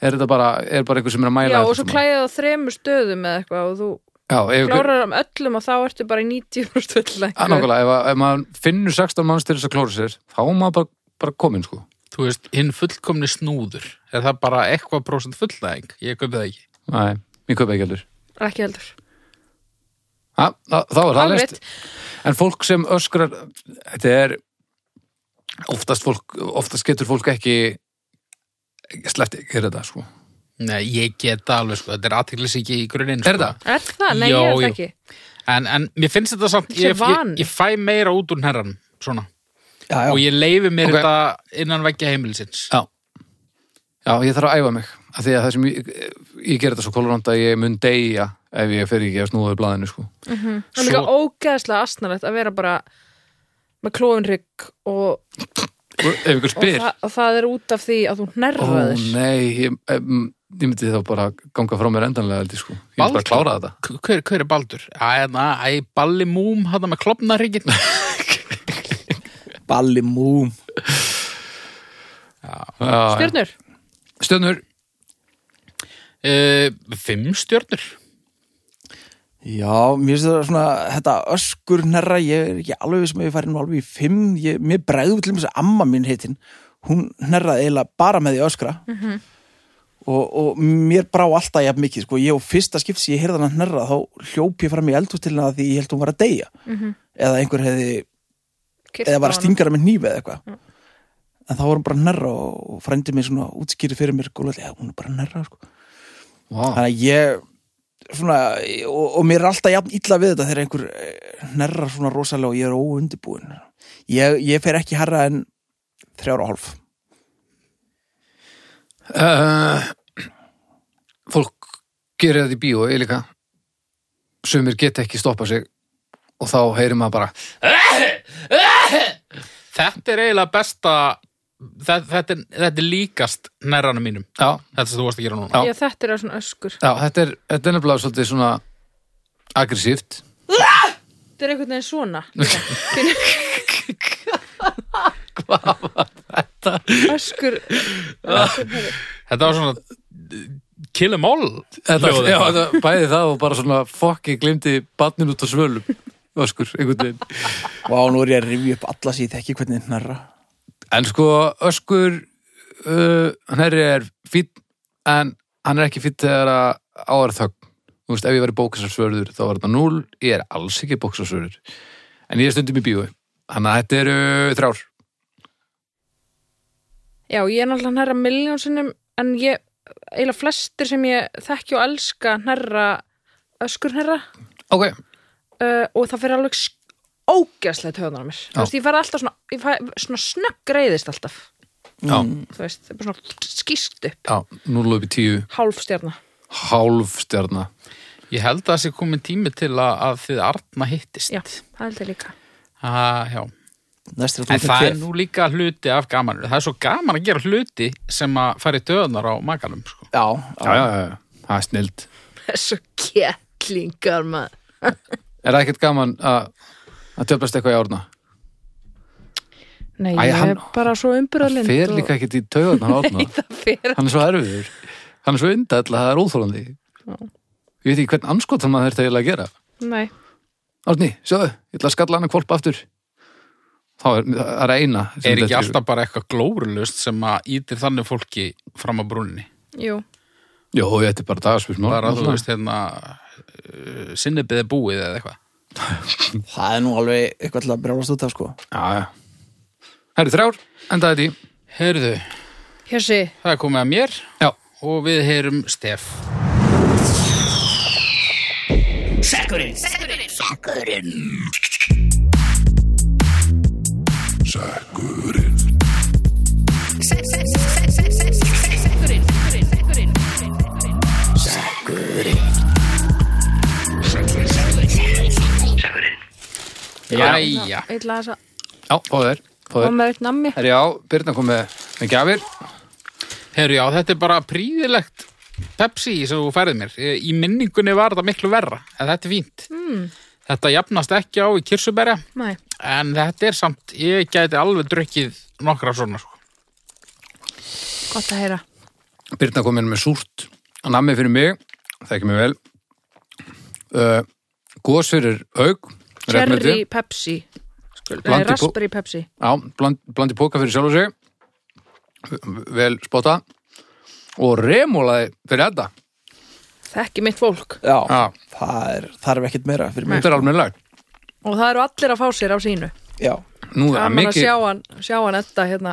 er þetta bara, er bara einhver sem er að mæla
Já,
þetta
og svo
svona?
klæðið á þremur stöðum eða eitthvað og þú
Já, ef einhver-
klárar um öllum og þá ertu bara í 90%
að
fullnæðingu.
Ah, nákvæmlega, ef, að- ef maður finnur 16 manns til þess að klóra sér, þá er maður bara, bara komin, sko.
Þú veist, hinn fullkomni snúður, er það bara eitthvað prósent fullnæðing? Ég köpi það ekki.
Nei, mér kaupa ekki heldur.
Ekki heldur.
Ha, þá þá er það
Alveg.
lest. En fólk sem öskrar, þetta er oftast fólk, oftast getur fólk ekki slefti, er þetta, sko.
Nei, ég get það alveg, sko, þetta er aðteglis ekki í grunninn, sko.
Er það?
Er það? Nei,
Jó,
ég er
jú.
það ekki.
En, en mér finnst þetta samt,
Þessi
ég, ég,
vani.
ég fæ meira út úr herran, svona.
já, já.
Og ég leifi mér
Ok.
þetta innan veggja heimilisins.
Já. Já, ég þarf að æfa mig. Af því að það sem ég, ég ger þetta svo kolorand að ég mun deyja ef ég fer ekki að snúða í blaðinu, sko.
Það er líka ógeðslega astnalegt að vera bara með klóinrygg og,
Og Ef ykkur
og,
spyr,
það, og það er út af því að þú
ó
hnerraðir.
nei, ég, em, ég myndi þá bara ganga frá mér endanlega, held ég, sko. Ég myndi bara
Baldur.
klára þetta.
K- Hver, hver er Baldur? Æ, na, æ, Balli Múm, hann með klopnaryggin.
Balli múm
Já,
Stjörnur?
já. Stjörnur,
uh, fimm stjörnur.
Já, mér finnst það svona þetta öskur nærra, ég er ekki alveg sem ég færi nú alveg í fimm, ég, mér bregðu til þess að amma mín heitin, hún nærraði eiginlega bara með því öskra og, og mér brá alltaf jafn mikið, sko, ég og fyrsta skipt sem ég heyrði hann nærra, þá hljóp ég fram í eldhústilina því ég held hún var að deyja eða einhver hefði,
Kyrkt
eða var
á
að
hana.
stingara með nýfi eða eitthvað en þá var hún bara nærra og og frændi mér svona útskýri fyrir mér, góðlega, "Já, hún er bara nærra, sko
vá,
þannig að ég svona, og, og mér er alltaf jafn illa við þetta þegar einhver eh, hnerrar svona rosalega og ég er óundibúin ég, ég fer ekki herra en þrjára og hálf
Uh, fólk gerir Eh, þetta í bíó, ég líka sumir geta ekki stoppa sig og þá heyrir maður bara
Þetta er eiginlega besta þetta, þetta, er, þetta er líkast nærranum mínum
já,
Þetta sem þú varst að gera núna
Já.
Já, þetta er svona öskur.
já þetta, er, þetta er nefnilega svolítið svona aggressíft
Þetta er einhvern veginn svona. líka. Fyrir- öskur. öskur herri.
Þetta var svona Kill em all
þetta,
hljóðið.
já, þetta, bæði það og bara svona fokki glimti batnin út á svölum öskur, einhvern veginn
Vá, nú er ég að rifja upp alla síð ekki hvernig hnerra.
En sko, öskur uh, hnerri er fýtt en hann er ekki fýtt þegar að ára þögn. Þú veist, ef ég var í bóksarsvörður þá var þetta 0, ég er alls ekki bóksarsvörður. En ég er stundum í bíói. Þannig að þetta eru þrjár.
Já, ég er náttúrulega nærra miljónsinnum en ég, eiginlega flestir sem ég þekki og elska nærra öskur nærra
Ok,
uh, og það fyrir alveg sk- ógeðslega töðan á mér. Þú veist, ég fara alltaf svona, ég fara svona snögg reyðist alltaf.
já,
Þú veist, það er bara svona skýst upp,
já, 0 upp í 10,
hálf stjarna.
hálf stjarnar.
Ég held að það sé komin tími til að, að þið Arna hittist
Já, það held ég líka.
Ah, já.
Næst er
En
að þú
það er nú líka hluti af gamanur Það er svo gaman að gera hluti sem að fara í döðnar á makalum sko.
Já,
Já, já, já, já, það er snild.
Þessu kettlingar maður.
Er það ekkert gaman að að töflast eitthvað í árna?
Nei,
Æ,
ég
hann-
er bara svo
Það
umbyrðalind.
fer líka hérna. ekkert í taugarnar á árna.
Það fer
hann er svo erfiður hann er svo undall að það er óþólandi ég veit ekki hvern anskotan maður þetta eiginlega að gera
Nei,
Árni, sjáðu, ég ætla að skalla hann að kvolpa aftur þá er það er eina sem
Er ekki
dettur í hug.
alltaf bara eitthvað glórulust sem að ítir þannig fólki fram að brúninni
jú.
Jó, þetta er bara dagarspyrsmál
bara þú veist hérna uh, sinnebið er búið eða eitthvað
það er nú alveg eitthvað til að brjálast út af sko.
já, já. Herri, þrjár, endaði því
Heyrðu,
Hjössi,
það er komið að mér
Já,
og við heyrum Stef Jæja,
ég ætla þess að
já, fáðu þér fáðu þér Eh,
koma upp nammi.
Herri, já, Birna kom með, með gjafir
heyrðu já, þetta er bara príðilegt Pepsi sem þú færið mér Ég- í minningunni var þetta miklu verra en þetta er fínt mm. þetta jafnast ekki á í kirsuberja
Nei,
en þetta er samt, ég gæti alveg drukkið nokkra svona sko.
gott að heyra.
Birna kom inn með súrt að nammi fyrir mig, það ekki mig vel uh, Gós fyrir auk
Cherry Pepsi. Skul, nei,
Blandi bú-
raspberry Pepsi.
Já, bland, blandi póka fyrir sjálf og sig vel spotta og remúlaði fyrir þetta
Þekki mitt fólk.
Já,
Já.
það er, þarf ekkert meira fyrir mig.
þetta er almennilegt
Og það eru allir að fá sér á sínu.
Já,
nú er
Það er mann
það
að
mikið
sjá hann, sjá hann etta hérna,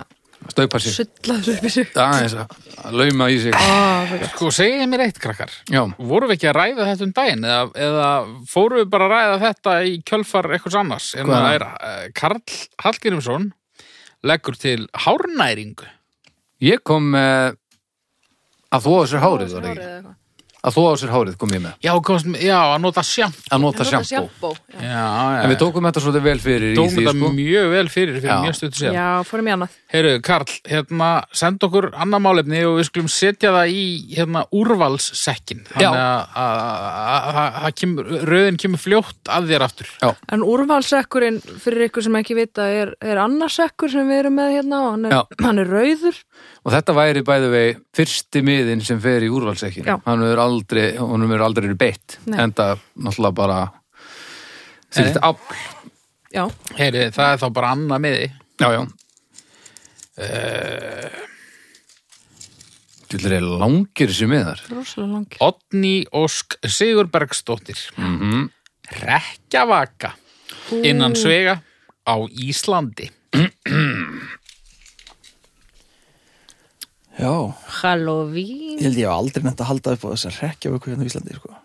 staupa sér
sullaður upp í sig.
aðeins að lauma í sig
Ah, svo gott.
sko, segið mér eitt krakkar
já,
vorum við ekki að ræða þetta um daginn eða, eða fórum við bara að ræða þetta í kjölfar eitthvað annars en
Hvað?
það er uh, Karl Hallgrímsson leggur til hárnæringu
ég kom með að þóa sér hárið var það
Hárið
ekki?
eða eitthvað.
að þóa sér hárið kom ég með
já, komst, já að nota sjamp
að nota
Það er
sjampó
sjampó. já.
já, já,
en við tókum þetta svolítið vel fyrir í
tókum
því
þetta
sko
mjög vel fyrir fyrir
Já.
mjög stötu sér
Já, fórum í annað.
Heyru, Karl, hérna, send okkur annað málefni og við skulum setja það í hérna, úrvalssekkin
Já.
þannig að- að- að- að að kemur, röðin kemur fljótt að þér aftur
En úrvalsekkurinn, fyrir ykkur sem ekki vita, er, er annarsekkur sem við erum með hérna og hann er,
Já.
hann er rauður.
og þetta væri bæði vei fyrsti miðin sem fer í úrvalsekkin
Já.
hann er aldrei, honum er aldrei verið beitt
Nei.
enda náttúrulega bara þýrt afl
Já,
Heyru, Eh, það er þá bara annað miði
Já, já. Þú ætlir er langir sem við þar.
rosalega langi.
Otni Ósk Sigurbergsdóttir mm
Mhm.
-hmm. Rekkjavaka innan svega á Íslandi
já,
Halloween.
ég held ég hef aldrei nefnt að halda upp á þess að rekja við hvernig í Íslandi sko.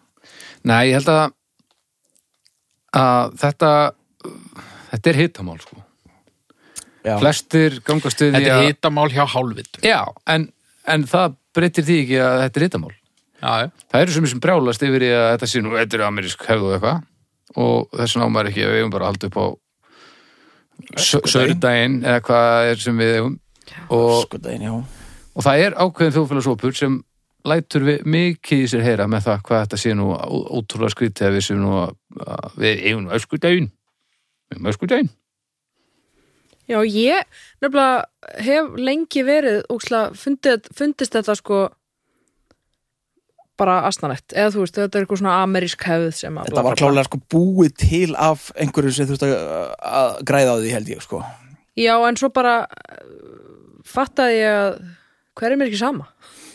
Nei, ég held að, að þetta, þetta er hitamál, sko.
Já,
Flestir gangast við
Þetta
því
er
að...
hitamál hjá hálfvitum
Já, en, en það breytir því ekki að þetta er hitamál.
já, já.
það eru sumir sem brjálast yfir í að þetta sé nú þetta er amerísk hefð og eitthvað og þess vegna á maður ekki, við eigum bara að halda upp á sördaginn eða hvað er sem við eigum og,
Skotaginn, Sko, já.
og það er ákveðin þjóðfélagsópur sem lætur við mikið í sér heyra með það hvað þetta sé nú ó- ótrúlega skrítið að við sem nú að, að við eigum nú öskudaginn við eigum öskudaginn
Já, ég nefnilega hef lengi verið ókslega fundið, fundist þetta sko bara asnanett eða þú veist, þetta er eitthvað svona amerísk hefð sem að
Þetta var klálega sko búið til af einhverju sem þurfti að, að græða á því held ég sko.
Já, en svo bara eh, fattaði ég að hver er mér ekki sama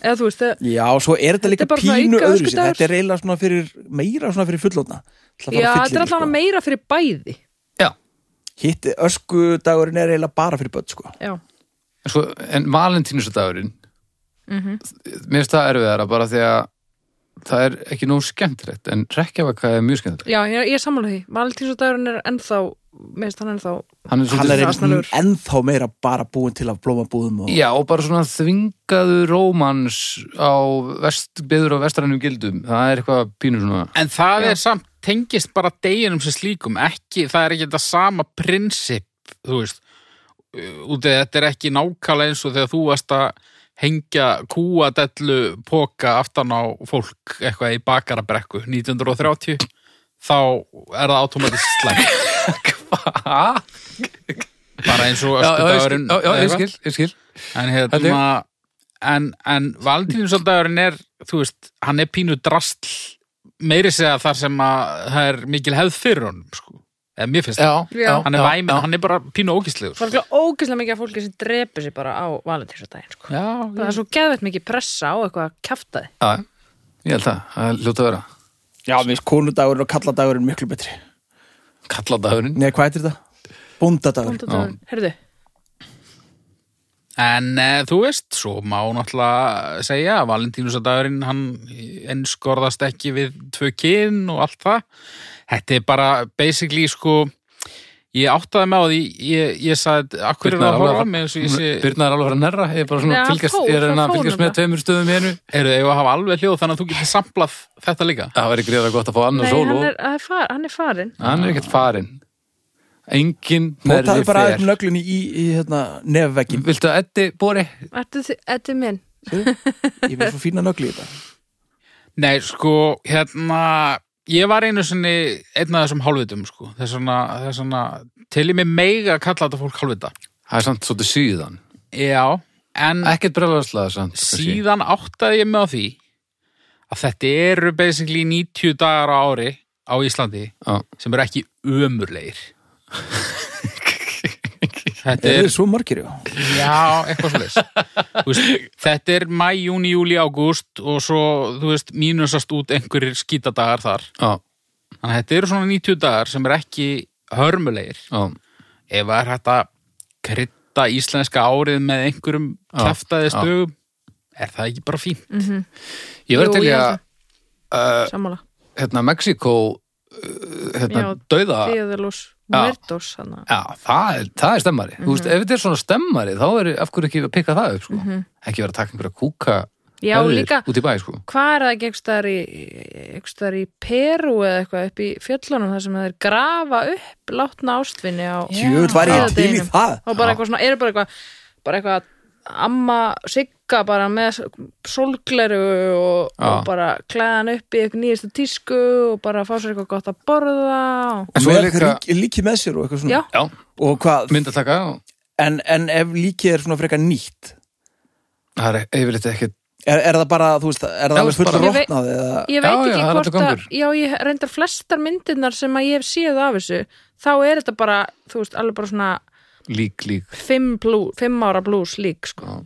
eða þú veist, það,
Já, svo er þetta
Þetta
líka
er bara svona
pínu
auka
öðru
öskudagur.
Þetta er eiginlega svona fyrir, meira svona fyrir fullotna.
já, þetta er
sko.
sko.
allavega meira fyrir bæði
já,
Hitt öskudagurinn er eiginlega bara fyrir börn sko.
Já,
en, sko, en valentínusdagurinn mér finnst það erfiðara bara því að það er ekki nóg skemmtilegt en rekkjavaka er mjög skemmtilegt
já ég, ég sammála því Valentínsdagurinn er ennþá, mér finnst hann ennþá
hann er,
Hann
svolítið-
er
svona asnalegur.
ennþá meira bara búin til af blómabúðum og
Já, og bara svona þvingaðu rómans á vest, byður á vestrænum gildum. Það er eitthvað pínur svona.
En það
Já.
er samt, tengist bara deginum sem slíkum, ekki, það er ekki þetta sama prinsip, þú veist út af þetta er ekki nákvæmlega eins og þegar þú varst að hengja kúadellu poka aftan á fólk eitthvað í bakarabrekku 1930 þá er það automatist slæmt
Hva?
bara eins og
Já, já, ég skil,
öskudagurinn
já, já,
eða
ég
eitthvað.
skil, ég skil.
en
Held
hérna en, en Valentínusdagurinn er þú veist, hann er pínu drastl meiri segja þar sem að það er mikil hefð fyrir honum sko. eða mér finnst það,
Já,
Já.
já.
hann er,
já,
væm,
já.
hann er bara pínu ógistlegur
Það er örugglega ógeðslega mikið af fólki sem drepi sig bara á Valentínsdaginn sko.
já,
Það er svo geðvett mikið pressa á eitthvað að kjafta þið
Já, ég held það. Það er ljóta að vera.
Já, mér finnst konudagurinn og kalladagurinn miklu betri.
Kalladagurinn.
Nei, hvað heitir þetta? Bóndadagur.
Bóndadagurinn, heyrðu
En e, þú veist, svo má náttúrulega segja að Valentínusdagurinn hann einskorðast ekki við tvö kyn og allt það. Þetta er bara basically sko, ég áttaði með á því, ég, ég sagði, akkur er
Birna
það að
alveg
horfa
að-
með eins og ég sé,
Birna er alveg að vera að nerra. Ég er bara svona
Nei,
að
hann
fylgjast,
fór,
ég er að
hann
reyna að
fór
fylgjast með
nefnilega.
tveimur stöðum í einu.
eru þau að hafa alveg hljóð þannig að þú getur samplað þetta líka.
Það væri greiða gott að fá annar
Nei,
sólu.
hann er, hann er far, hann er farin
Hann er ekkert farinn. Engin
Nótaðu
nærri
bara aðeins
fer.
nöglunni í, í hérna, nefveggin.
Viltu að Eddi, Bóri?
Ertu þið, þetta er minn
Ég vil svo fína nögli í þetta.
Nei, sko, hérna ég var einu sinni einn af þessum hálfvitum, sko, þess vegna, þess vegna til ég mig mega að kalla þetta fólk hálfvita.
Það er samt svolítið síðan.
Já, en
Ekkert brjóðarslega samt. kannski.
síðan áttaði ég mig á því að þetta eru basically 90 dagar á ári á Íslandi
Já.
sem eru ekki ömurleir Þetta
Er
er
þið svo margir, já?
já, eitthvað svo veist, þetta er mæ, júni, júli, ágúst og svo, þú veist, mínusast út einhverjir skítadagar þar
Já,
þannig að þetta eru svona 90 dagar sem eru ekki hörmulegir
já.
ef það er hægt að krydda íslenska árið með einhverjum
Já,
kæftaði
já. Mm.
stugum er það ekki bara fín
Ég verði
Jú,
til í
ég
að
Sammála,
hérna, Mexiko hérna,
Já,
dauða Já,
Díðalús Mördos hann
það er, það er stemmari Þú
Mhm.
veist, ef þetta er svona stemmari þá er af hverju ekki að pikka það upp sko. ekki vera að taka einhverja kúka
Já,
hefðir
líka,
út í bæ sko.
hvað er það ekki einhvers staðar í, einhvers staðar í Peru eða eitthvað upp í fjöllunum þar sem þeir grafa upp látna ástvinni á
Jöfull var ég til í
dauðadeginum.
það.
og bara eitthvað svona, eru bara eitthvað bara eitthvað að amma sigga bara með solgleru og,
Já.
og bara klæðan upp í eitthvað nýjastu tísku og bara fá sér eitthvað gott að borða og...
Og
En svo
með
er
líka...
líka-
líki, líki með sér og eitthvað
já,
svona.
Já,
Og hvað,
myndataka og
en, en ef líkið er svona frekar nýtt,
það er yfirleitt ekki
er, er það bara, þú veist, er það
Já,
alveg
bara-
fullt
Ég vei-
rotnað eða...
ég veit
Já, já,
ekki
það er allur
hvort að
gangur.
já, ég reyndar flestar myndirnar sem að ég hef séð af þessu þá er þetta bara, þú veist, alveg bara svona
lík lík
fimm, blú, fimm ára blús lík sko.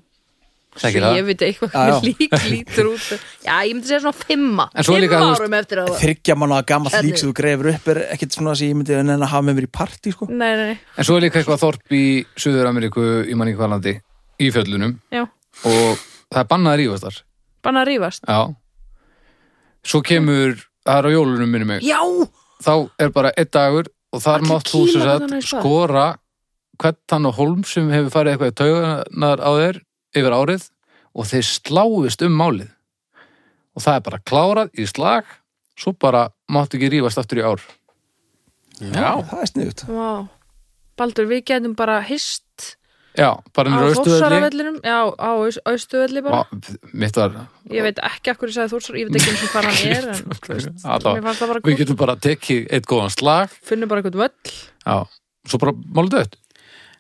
Þekki
Svo
það.
ég veit eitthvað
Já, já.
hvernig lík lítur út já, ég myndi segja svona fimma
En svo
fimm
líka, þú veist-
árum eftir að það
Þryggja manna að gamall
Hvernig?
lík sem þú grefur upp er ekkert svona sem ég myndi enn að hafa með mér í partí, sko.
nei, nei, nei,
En svo er líka eitthvað þorp í Suður-Ameríku í manningalandi í fjöllunum
já,
og það er bannað að rífast þar
bara að rífast
Já Svo kemur, það er á jólunum minni mig
já,
þá er bara einn dagur og þar
Allir
mátt þú sem
kýla
sagt
þarna í stað.
skora hvern þann og hólm sem hefur farið eitthvað í tauganar á þér yfir árið og þeir sláist um málið og það er bara klárað í slag svo bara máttu ekki rífast aftur í ár Já,
það er sniðut
Vá. Baldur, við getum bara hist
já,
á
bara nýra austuðalli
Þórsaravellinum Já, á austuvelli bara
Mitt var
Ég veit ekki af hverju ég sagði Þórsar Ég veit ekki eins og hvað hann er en, þú veist, Mér
allavega,
fannst það bara
Við
gott
getum bara tekið eitt góðan slag
Finnum bara eitthvað völl
Já, svo bara málið dött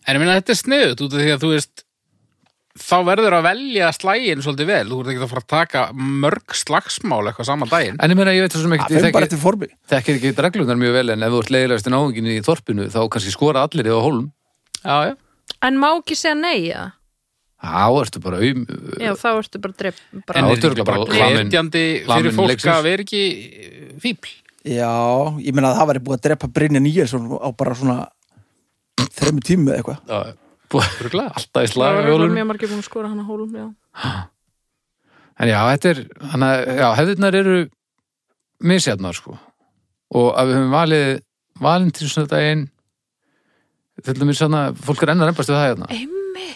En ég minna þetta er sniðut út af því að þú veist þá verður að velja slægin svolítið vel, þú verður ekki að fara að taka mörg slagsmál eitthvað saman daginn
En ég meina, ég veit þessum
Það
ekkert, ég
fyrir bara
þekki,
eftir formi
þekki ekki reglunar mjög vel en ef þú ert leiðilegast í náungin í þorpinu þá kannski skora allir eða á hólm
Já, já,
En má ekki segja nei, já
Þá ertu bara um
Já, þá ertu bara drepp bara.
en
Já,
er
örugglega
þetta
bara
bara
lamin-
gletjandi
lamin
fyrir fólk
leiksins.
að vera ekki eh, fíbl
Já, ég meina að það væri búið að drepa Brynja Níelsson á bara svona þremmu tími eða eitthvað
Já, bú- Alltaf í
Það
slag
var
við hólm
mjög margir búin að skora hann á hólum, já
En já, þetta er, hann að, já, hefðirnar eru misjafnar, sko. Og að við höfum valið valentínusnöðdægin, til dæmis svona, fólk er enn að reymbast við það hérna.
Einmi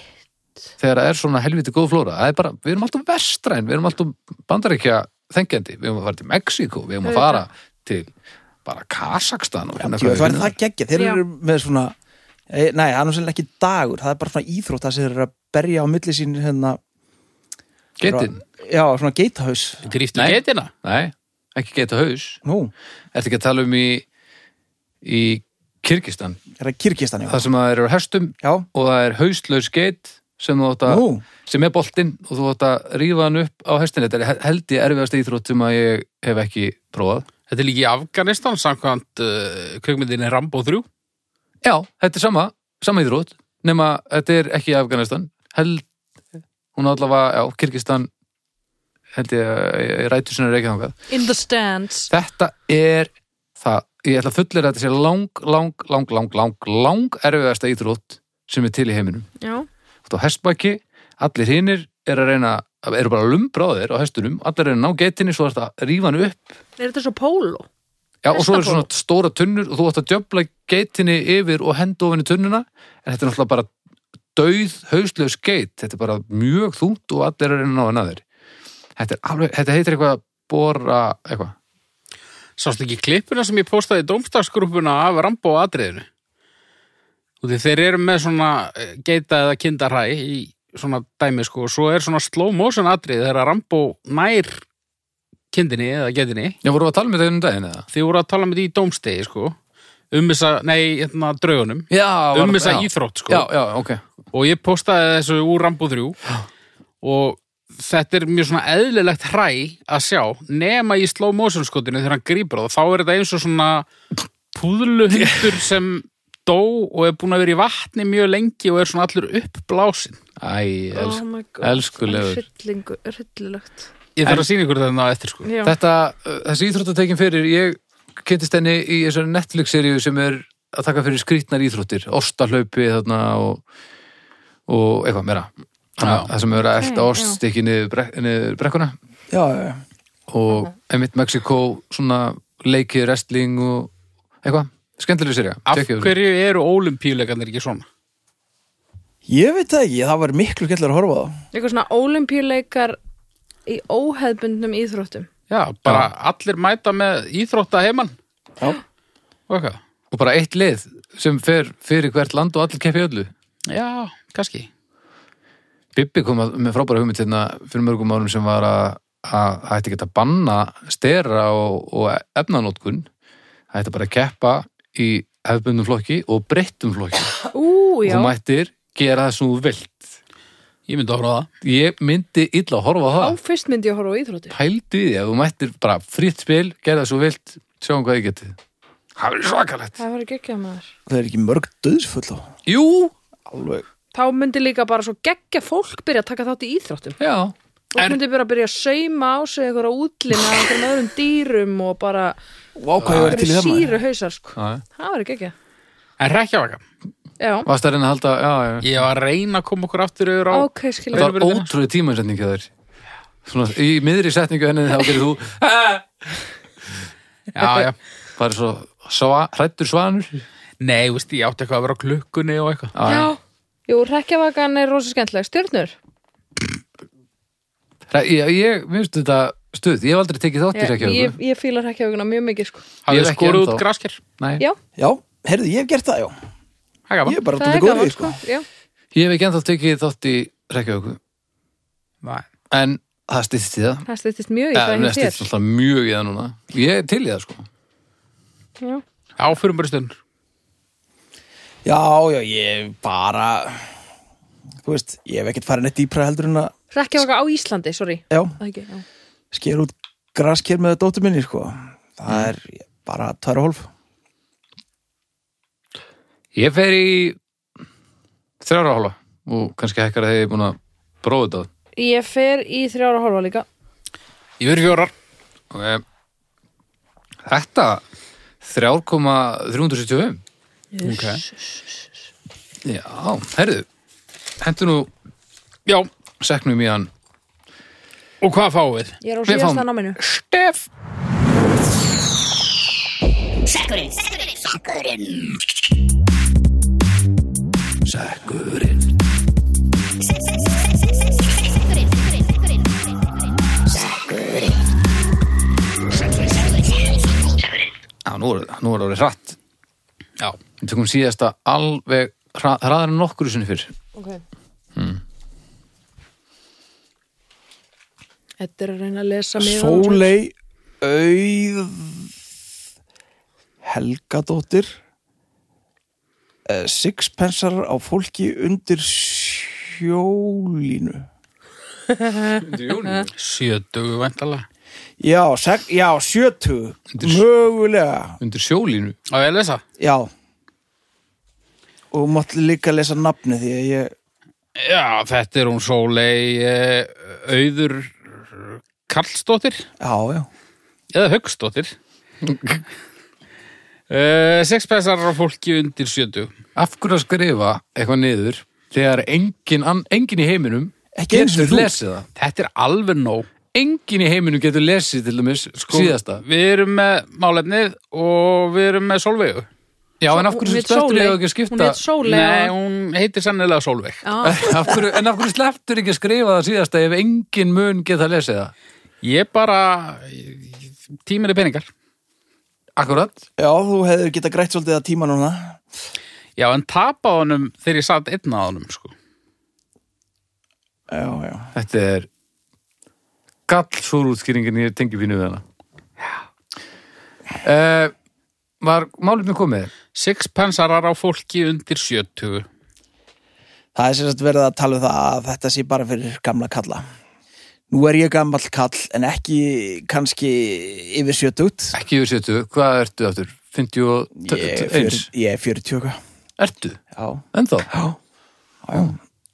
Þegar það er svona helviti góð flóra, það er bara, við erum alltaf vestræn, við erum alltaf bandaríkja þengjandi, við erum að fara til Mexíkó, við erum að
Auðvitað.
fara til bara Kazakstan og hérna
Jú,
hvað
það
við
væri
finnum.
það geggja, þeir
Já.
eru með svona eh, Nei, það er nú sérlega ekki dagur, það er bara svona íþrótt það sem þeir eru að berja á milli sín hérna,
Getinn?
Já, svona geithaus
Grýftu getina
Nei, ekki geta haus.
Nú,
Ertu ekki að tala um í, í Kyrkistan,
er það kirkistan já
það sem það eru á hestum
Já,
og það er hauslaus geit sem þú átt að
nú,
sem er boltinn og þú átt að rífa hann upp á hestin þetta er he- held ég erfiðast íþrótt sem að ég hef ekki prófað
Þetta er líka í Afganistan samkvæmt uh, kveikmyndinni Rambo 3
já, þetta er sama, sama íþrótt nema þetta er ekki í Afganistan held, hún allavega, já, Kyrkistan held ég, ég rætur sinna reikið þangað
In the stands
þetta er það, ég ætla að fullir þetta sé lang, lang, lang, lang, lang, lang erfiðasta íþrótt sem er til í heiminum
Já,
út á hestbaki, allir hinnir er að reyna, eru bara lumbráðir á hestunum, allir reyna að ná geitinni svo þetta rífa hann upp
er þetta svo póló?
Já, og svo eru
Hestapóló.
svona stóra tunnur og þú átt að djöfla geitinni yfir og henda ofan í tunnuna en þetta er náttúrulega bara dauð hauslaus geit, þetta er bara mjög þungt og allir er að ná hennar þér þetta, er alveg, þetta heitir eitthvað að bora eitthvað,
Sástu ekki klippuna sem ég postaði í domstagsgrúppuna af Rambo atriðinu? Þú veit, þeir eru með svona eh, geita eða kindarhæ í svona dæmi sko og svo er svona slow motion atrið þegar Rambo nær kindinni eða geitinni
já vorum við að tala með þetta um daginn eða?
Þið voru að tala með því í domstegi sko um þessa, nei, hérna draugunum
Já, var,
um þessa
já,
íþrótt sko
Já, já, ok
og ég postaði þessu úr Rambo 3 og þetta er mjög svona eðlilegt hræ að sjá nema í slow motion skotinu þegar hann grípur það þá er þetta eins og svona púðluhundur sem dó og er búin að vera í vatni mjög lengi og er svona allur uppblásin
Æ, els,
oh my god,
elskulegur
Hryllingu, hryllilegt
ég þarf að sína ykkur þetta á eftir sko
Já,
Þetta, uh, þessi íþróttatekin fyrir ég kynntist henni í þessari Netflix-seríu sem er að taka fyrir skrýtnar íþróttir ostahlaupi þarna og, og eitthvað meira Þannig að
Já.
það sem eru að elta
Ok,
oststykki niður, brek, niður brekkuna
já, já, já.
og einmitt Mexiko svona leikið wrestling og eitthvað, skemmtileg seríu
af
Tjekkið þessu.
hverju eru ólimpíuleikarnir ekki svona
Ég veit það ekki, það var miklu skemmtilega að horfa á það
eitthvað svona ólimpíuleikar í óheðbundnum íþróttum
já, bara allir mæta með íþrótta heimann
Já.
og eitthvað
og bara eitt lið sem fer fyrir hvert land og allir keppi öllu
já, kannski
Bibbi kom að, með frábæra hugmynd hérna fyrir mörgum árum sem var að að það ætti ekki að banna stera og, og efnanótkun það ætti bara að keppa í hefbundum flokki og breyttum flokki
Ú,
og
já,
þú mættir gera það sem þú vilt
ég myndi að horfa á það
ég myndi illa að horfa á
á
það
fyrst myndi ég að horfa á íþróttir
pældu í því að þú mættir bara fritt spil gera það sem þú vilt, sjáum hvað þið getið það er svakalegt
Það var ekki ekki að maður
Það er ekki mörg döðsfull á
Jú,
Alveg
Þá myndi líka bara svo geggja fólk byrja að taka þátt í íþróttum
já
Fólk
En-
myndi bara að byrja að sauma á sig eitthvað útlina, eitthvað öðrum dýrum og bara
Vá, hvað ég var til í það maður
síru hausar sko.
Já, já.
Það var ekki ekki
en rekjavaka
Já,
Varst að reyna að halda, já, já
Ég var að reyna að koma okkur aftur yfir á
ok, skilja
Þetta var ótrúið tímasetningu þér Svona, í miðri setningu henni þá gerir þú
Já, já
bara svo sva, hrættur svanur
Nei, þú veist, ég átti eitthvað að vera á klukkunni og eitthvað
Já, jú, rekjavakan er rosa skemmtileg Stjörnur
Ég, ég minnst þetta stuð, ég hef aldrei tekið þátt í
Ég, ég,
Reykjavík
ég fílar hrekkjavöguna mjög mikið sko.
Ég
Hafið
hef
þið
ekki
skorið út
ennþá.
grasker?
Nei,
Já,
Já, heyrðu, ég hef gert það, já
Það er gaman.
Ég er bara
það er
dóttir góðið,
gaman
sko
sko. Já.
ég hef ekki ennþá tekið þátt í Reykjavík
Nei.
en það stýttist í það
Það stýttist mjög í
Ja,
það
en
hjá
það
þér.
stýttist alltaf mjög í það núna Ég er til í það sko
Já.
Já, fyrir bara stund.
Já, já, ég bara Þú veist, ég hef ekkert farið neitt dýpra heldur en að
Hrekkjavöga á Íslandi, sorry.
Já,
Það ekki, já.
sker út grasker með dóttur minni, sko Það er bara tvær og hólf
Ég fer í þrjára hálfa og kannski hekkar að hef ég búin að prófa þetta
Ég fer í þrjára og hálfa líka.
Ég verið fjórar.
Ok. Þetta 3,375
Ok.
Já, herðu Hentu nú
Já,
seknum í hann
og hvað fáum við?
Ég er á
Við fáum-
síðasta náminu.
Stef.
Sekkurinn Já, nú er, nú er orðið hratt
Já.
Við tökum síðasta alveg hra, hraðar en nokkur sinni fyrr
Ok.
Hmm.
Þetta er að reyna að lesa mig.
Sólei Auð Helgadóttir eh, Sixpensar á fólki undir sjólínu
Sjötugu væntalega.
Já, seg, já, sjötu
Undir sj-
Mögulega
Undir sjólínu
Á ég að lesa?
Já Og mátt líka lesa nafni því að ég
Já, þetta er hún Sólei eh, Auður Karlsdóttir
Já, já
eða Hauksdóttir uh, Sexpessar á fólki undir sjöndu
Af hverju að skrifa eitthvað niður þegar engin, ann- engin í heiminum
Ekki einu sinni
getur
þú.
lesið það
Þetta er alveg nóg Sko,
Engin í heiminum getur lesið til dæmis
Sko-
síðasta
Við erum með málefnið og við erum með Sólveigu
Já, en af hverju stöttur ég ekki að
Hún
skipta
heit Sólei.
Nei, hún heitir sennilega Sólveig
Já,
af hverju, En af hverju slepptur ekki að skrifa það síðasta ef engin mun geta lesið það
Ég bara tímir er peningar
Akkurat
Já, þú hefur geta grætt svolítið að tíma núna
Já, en tapa honum þegar ég satt einn að honum sko.
Já, já
Þetta er gall súrútskýringin ég tengi pínu við hana uh, Var málefni komið?
Sixpensarar á fólki undir sjötugu
Það er sérst verið að tala um það að þetta sé bara fyrir gamla kalla. Nú er ég gamall kall en ekki kannski yfir sjötugt.
Ekki yfir sjöttu, hvað ertu aftur? 51?
Ég er fjör- ég er 40 og eitthvað.
Ertu?
Já.
Ennþá?
Já. Já.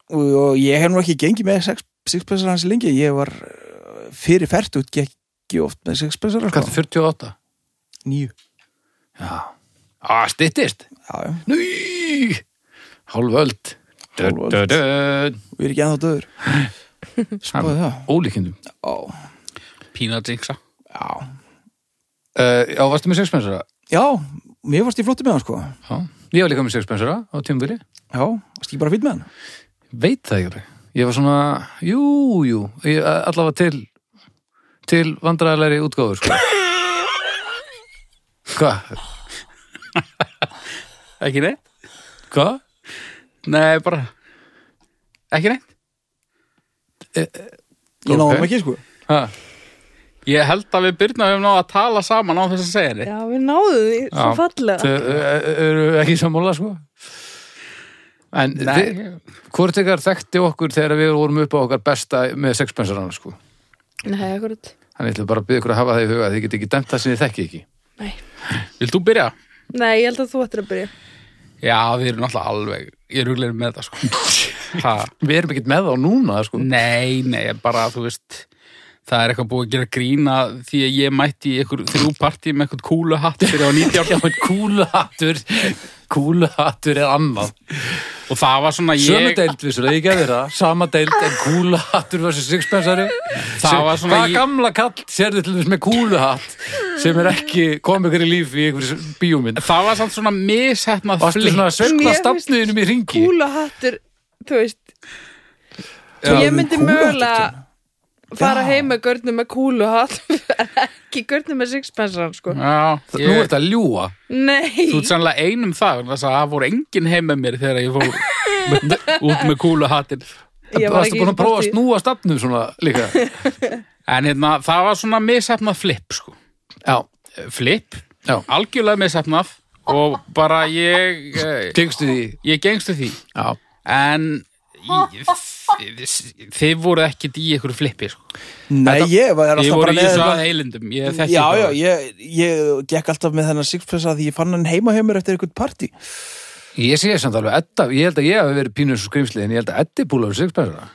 Og, og ég hef nú ekki gengið með sex- sixpensar hans lengi. Ég var uh, fyrir fertut gekk ég oft með sixpensar.
Hvað er 48?
Nýju.
Já. Á, styttist.
Já, já.
Nýj! Hálföld.
Hálf öld. Við erum ekki ennþá döður. Spáðu það.
Ólíkindum.
Já.
Peanut jinxa
Já.
Uh, já, varstu með sexpensara?
Já, mér varst ég flottur með hann sko.
Já. Ég var líka með sexpensara á tímabili.
Já, varst ekki bara fýtt með hann?
Veit það ekki alveg. Ég var svona, jú, jú, ég, eh, allavega til, til vandræðalegri útgáður, sko. Hva?
Ekki neitt?
Hva?
Nei, bara Ekki neitt
Ég náðum
Ok.
ekki sko.
Ha?
Ég held að við Byrna höfum náða að tala saman á þess að segja henni.
já, við náðum því svo
Já.
fallega.
Þau eh, eru ekki sammála, sko. En þið, hvort ykkar þekkti okkur þegar við vorum upp á okkar besta með sexpensarana, sko.
Nei, akkurat.
Þannig ætlum bara að byggja ykkur að hafa það í huga að þið geti ekki dæmt það sem þið þekki ekki.
Nei.
Vilt þú byrja?
Nei, ég held að þú ættir að byrja.
Já, við erum alltaf alveg, ég er ruglir með þetta sko. ha,
Við erum ekkert með þá núna, sko.
nei, nei, bara þú veist, það er eitthvað búið að gera grína því að ég mætti í ykkur þrjú partí með eitthvað kúluhatt fyrir á 19
Já, en kúluhattur, kúluhattur er annað.
og það var svona
Sömu
ég,
deild, vissur það, ég gerði það. Sama deild en kúluhattur versus sixpensari.
Það var svona
Hvað
ég-
gamla kall sérðu til þess með kúluhatt sem er ekki komið ykkur í líf í ykkur bíómynd?
það var samt svona mishetnað
Varstu
flink.
svona að sögna
Mér finnst
stafniðinum í ringi?
Kúla hattur, þú veist.
Já,
ég myndi
kúluhattur,
mögulega fara
Já.
heim með görnum með kúluhatt en ekki görnum með sixpensan sko.
Já,
Ég... Nú
ég,
er þetta ljúa
Nei,
þú ert sannlega einum það vegna þess að það voru enginn heim með mér þegar ég fór út með kúlu hattin
ég var
Varstu
ekki
búin að prófa að
partí.
snúa stafnum svona líka
En hérna, það var svona missefnað flip sko.
Já,
Flip,
já,
algjörlega missefnað og bara ég eh,
gengstu því
ég gengstu því
Já,
en ég- þið- þið- þið voru ekkert í ykkur flippi sko.
Nei,
Þetta-
ég var
ég
alltaf
voru
bara
í
með
þessu
þetta-
að heilindum ég þekki
Já, já,
það.
ég, ég gekk alltaf með þennan sixpensa því ég fann hann heima hjá mér eftir eitthvað partí
ég sé samt alveg Edda, ég held að ég hafi verið pínur svo skrimsli en ég held að Eddi búlaður sig spensara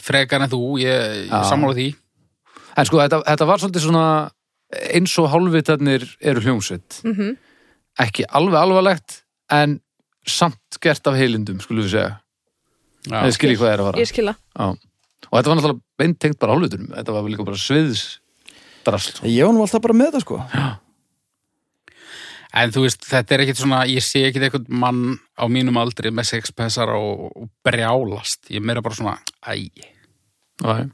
frekar en þú, ég,
Já.
ég sammála því
En sko, þetta, þetta var svolítið svona eins og hálfvitarnir eru hljómsveit
Mhm.
ekki alveg alvarlegt en samt gert af heilindum, skulum við segja
Já.
eða skilji hvað er að fara
Ég skila
Já. Og þetta var náttúrulega beintengt bara hálfuturum þetta var líka bara sviðs drasl
Ég var nú alltaf bara með þetta sko
en þú veist, þetta er ekkert svona ég sé ekkert eitthvað mann á mínum aldri með sexpensar og, og brjálast ég er meira bara svona, æ
Já.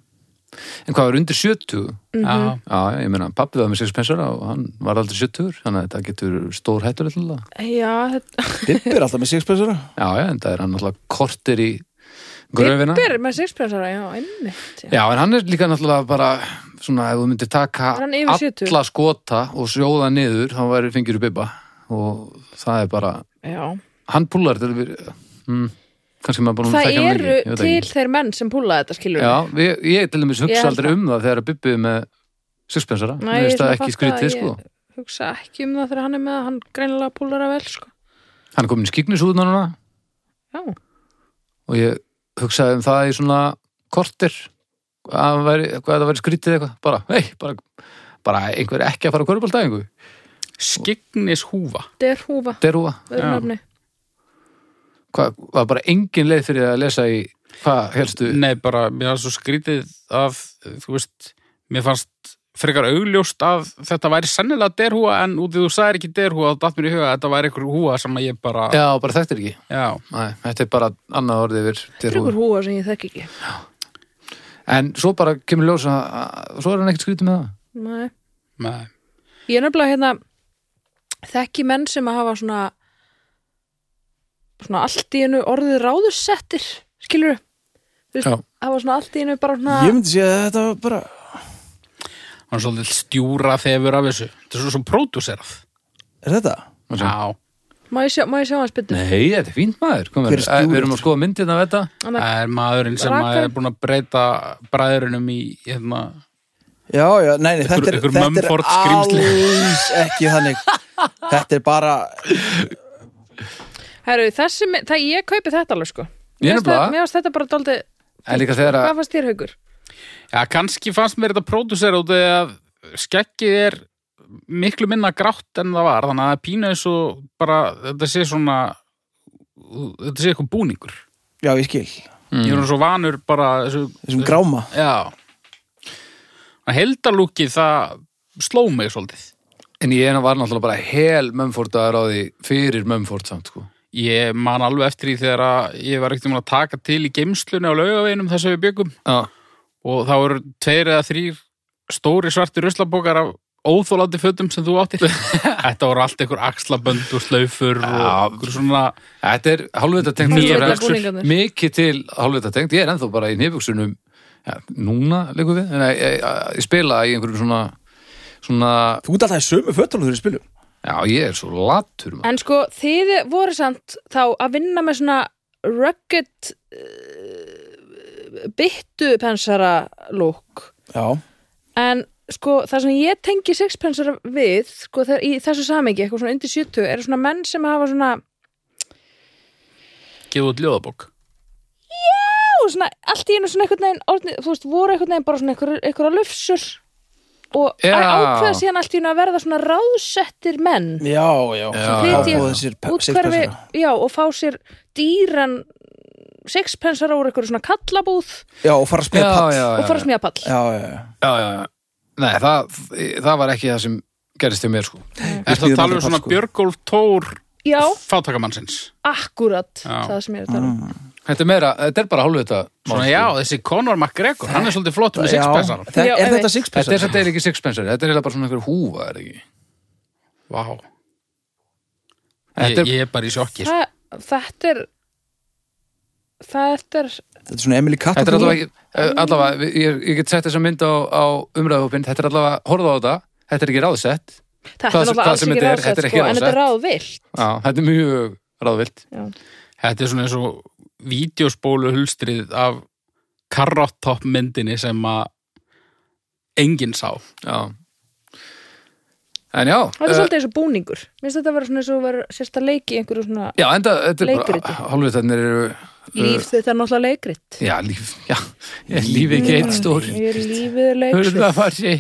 En hvað var undir 70?
já,
Já, já, ég meina, pappi var með sexpensara og hann var aldrei 70 þannig að þetta getur stór hættur alltaf.
Já, þetta
Bibbi er alltaf með sixpensara
Já, já, en það er hann alltaf kortir í gröfina.
Bibber með sixpensara, já, einmitt já.
Já, en hann er líka náttúrulega bara svona, ef þú myndir taka
Er hann yfir 70?
alla skota og sjóða niður, hann væri fengir í bibba og það er bara,
Já.
hann púlar þetta við, mm, kannski maður búin að
Það
þekkja hann
eru
lengi, ég veit það ekki.
til þeir menn sem púla þetta skilur
Já, ég, ég til dæmis
Ég
hugsa
held
aldrei
það.
um það þegar að bubbi er með sixpensara,
Nei,
mér
ég
finnst
svona
það ekki
fatta
skrítið
að
sko,
ég- Hugsa ekki um það þegar hann er með að hann greinilega púlar að vel sko.
hann er komin í skiknisúðuna núna
Já,
og ég hugsaði um það í svona kortir að hann væri, hvað það væri skrítið eitthvað bara, hei, bara, bara einhver ekki að fara að körubaldæðingu,
skignis húfa
þetta er húfa,
derúa
öðru
Já.
nafni
hvað, var bara engin leið fyrir að lesa í hvað helstu
Nei, bara, mér var svo skrítið að, þú veist, mér fannst frekar augljóst að þetta væri sennilega derhúa en út í þú sagðir ekki derhúa þá datt mér í huga að þetta væri einhver húa sem að ég bara,
Já, bara þekktir ekki.
já.
Nei, þetta er bara annað orðið yfir
Þetta er
derúa.
ykkur húfa sem ég þekki ekki
En svo bara kemur ljós að, að svo er hann ekkert skrítið með það.
Nei.
Nei.
Ég er nefnilega hérna þekki menn sem að hafa svona svona allt í hennu orðið ráðussettir skilur þú
Já.
veist, hafa svona allt í hennu bara svona
Ég myndi sé að þetta var bara
Hann er svolítið stjúra þefur af þessu. Þetta er svo svo pródúserað.
Er þetta?
Má sjá.
Já.
má ég sjá, má ég sjá hans byttu
Nei, þetta er fínt maður Hvað
Hver
er,
er stjúrið?
Við erum að skoða myndina af þetta
Annað-
Það er maðurinn sem
Rakar.
er búin að breyta bræðurinnum í, hérna,
Já, já, nei, nei, þetta er,
Einhver- einhver
þetta er
Mumford skrímsli.
alls ekki þannig Þetta er bara
Herru, þessi, mi- það, ég kaupi þetta alveg sko
Ég
Mér
er
finnst það-
nefnilega-
mér finnst þetta bara daldið
En líka þegar
hvað
að
fannst þér haugur?
já, kannski fannst mér þetta pródúserað út af því að skeggið er miklu minna grátt en það var, þannig að það er pínu eins og bara, þetta sé svona, þetta sé eitthvað búningur.
Já, ég skil
ég er nú svo vanur bara þessu,
Þessum gráma
já að heldalúki það sló mig svolítið
En ég var náttúrulega bara hel mömfordaður á því fyrir mömford samt sko.
ég man alveg eftir því þegar að ég var ekkert um að taka til í geimslunni á laugaveginum þess að við byggum
Já,
og þá eru tveir eða þrýr stóri svartir ruslabókar af óþólandi fötum sem þú áttir þetta voru allt einhver axlabönd og slaufur og
Já.
einhver svona
þetta er hálfvita tengt
Hálfvita
fyrst og fremst.
búningarnir.
Mikið til hálfvita tengt Ég er ennþá bara í nefugsunum ja, Núna leikum við En ég, ég, ég spila í einhverjum svona Svona,
Þú ert alltaf í sömu fötunum þegar við spilum
já ég er svo latur maður.
En sko, þið voru samt þá að vinna með svona rugged uh, byttu pensara lúk
Já,
en sko, það sem ég tengi sixpensara við, sko, það, í þessu samingi eitthvað svona undir 70, eru svona menn sem hafa svona,
gefa út ljóðabók
ó, svona allt í einu svona einhvern veginn, orðni, þú veist, voru einhvern veginn bara svona einhver- einhverja lufsur og
Já.
ákveða síðan allt í einu að verða svona ráðsettir menn
já, já
flytja
Já, og þessir pe- hérna.
útkverfi,
sixpensara.
já, og fá sér dýran sixpensara úr einhverju svona kallabúð
Já, og fara að
já,
smíða pall
já,
og
já,
fara smíða pall
já, já, já.
já, já, já. Nei, það, það var ekki það sem gerist hjá mér sko.
er
smíðum
það að tala um
alltaf
svona
sko.
Björgólf Tór
Já,
fátakamannsins
akkurat
Já.
Mm.
það sem ég er að tala um
Þetta er meira, þetta er bara sko. hálfið þetta
Svona já, þessi Conor McGregor, hann er svolítið flott með sixpensar
það, er
Já, einmitt.
þetta
Þetta er
sixpensar?
þetta er ekki sixpensari, þetta er eiginlega bara svona einhver húfa, er það ekki?
Vá
Þetta
ég,
er-
ég er bara í sjokki sko.
það, þetta er þetta er
Þetta er svona Emily Katta
Þetta er allavega, ekki- eh, allavega við- ég, ég get sett þessa mynd á, á umræðhópin Þetta er allavega, horfðu á þetta, þetta er ekki ráðsett
þetta er
Hvað-
náttúrulega
hvað
alls
sem
ekki
þetta er,
ráðsett
þetta er ekki
sko, en þetta er
ráðsett.
ráðvilt
Já, þetta er mjög ráðvilt
Þetta er svona eins og vídeospólu hulstrið af karottopp myndinni sem að enginn sá
Já En já
þetta er
eh,
svolítið eins og búningur mér finnst þetta að vera svona eins og vera sérst að leiki í einhverju svona
Já, enda, þetta er
Leikriti.
bara hálfið þetta eru
líf þetta er náttúrulega leikrit
Já, líf, já, ég lífi ekki eitt stór
ég er lífið er
Hörðu
leikrit
það farsi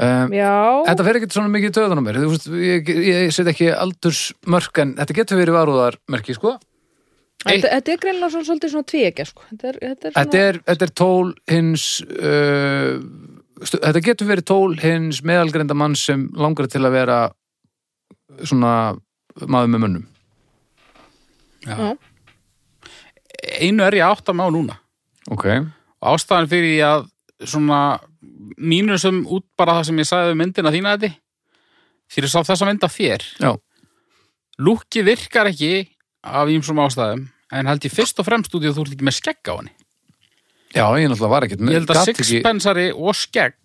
um,
já,
Þetta fer ekki svona mikið í töðan á mér Þú veist, ég, ég set ekki aldursmörk en þetta getur verið varúðarmerki, sko
þetta, þetta er greinlega svona svolítið svona tvíegja sko. þetta er, þetta er svona
Þetta er, þetta er tól hins uh, stu, Þetta getur verið tól hins meðalgreinda mann sem langar til að vera svona maður með mönnum
Já.
Einu er ég að átta mig á núna
Ok
og ástæðan fyrir ég að svona mínusum út bara það sem ég sagði við myndina þína þetta fyrir sá þessa mynd af þér
Já.
lúki virkar ekki af ímsum ástæðum en held ég fyrst og fremst út í að þú ert ekki með skegg á henni
Já, ég náttúrulega var ekkert
ég held að
gat ekki-
sixpensari og skegg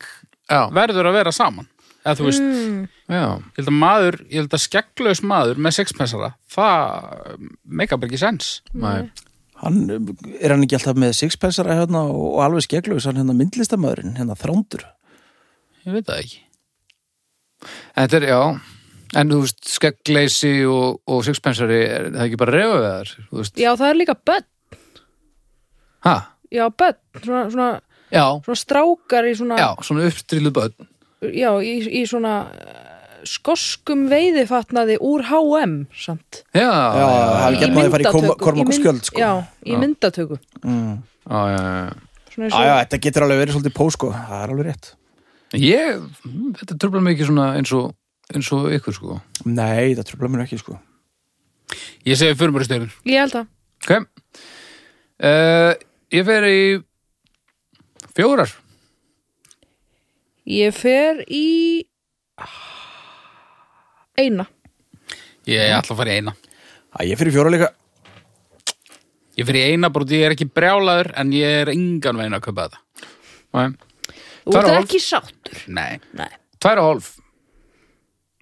Já,
verður að vera saman eða þú veist,
mm,
já,
ég held að maður ég held að skegglaus maður með sixpensara það meikar bara ekki sens
nei
Hann, er hann ekki alltaf með sixpensara hérna og, og alveg skeglugis hann hérna myndlistamöðurinn, hérna þrándur
ég veit það ekki
Þetta er, já, en þú veist, skeggleysi og, og sixpensari, er það ekki bara reyfa við þar, þú veist?
já, það er líka börn
Ha?
já, börn, svona, svona,
Já,
svona strákar í svona
já, svona uppstríluð börn.
já, í, í svona eh, skoskum veiðifatnaði úr H&M samt
Já,
Já, hafi
Í
gert maður að fara í
myndatöku,
Korm- Kormák
í
og
mynd-
Skjöld sko.
já, í myndatöku
Mm.
já, já, já.
svona
Já, já, þetta getur alveg verið svolítið pó sko, það er alveg rétt
Ég, mm, þetta tröflar mig ekki svona eins og, eins og ykkur, sko.
Nei, það tröfla mér ekki sko
ég segi fyrir mér stjórn
ég held að
Ok. Uh, ég fer í fjórar.
ég fer í eina
ég ætla að fara í eina
Æ, ég fyrir fjóra líka
Ég fyrir eina bara út í að ég er ekki brjálaður en ég er engan veginn að kaupa þetta.
Nei,
þú
Tvær
ert
og hálf.
ekki sáttur
Nei.
Nei.
tvær og hálf.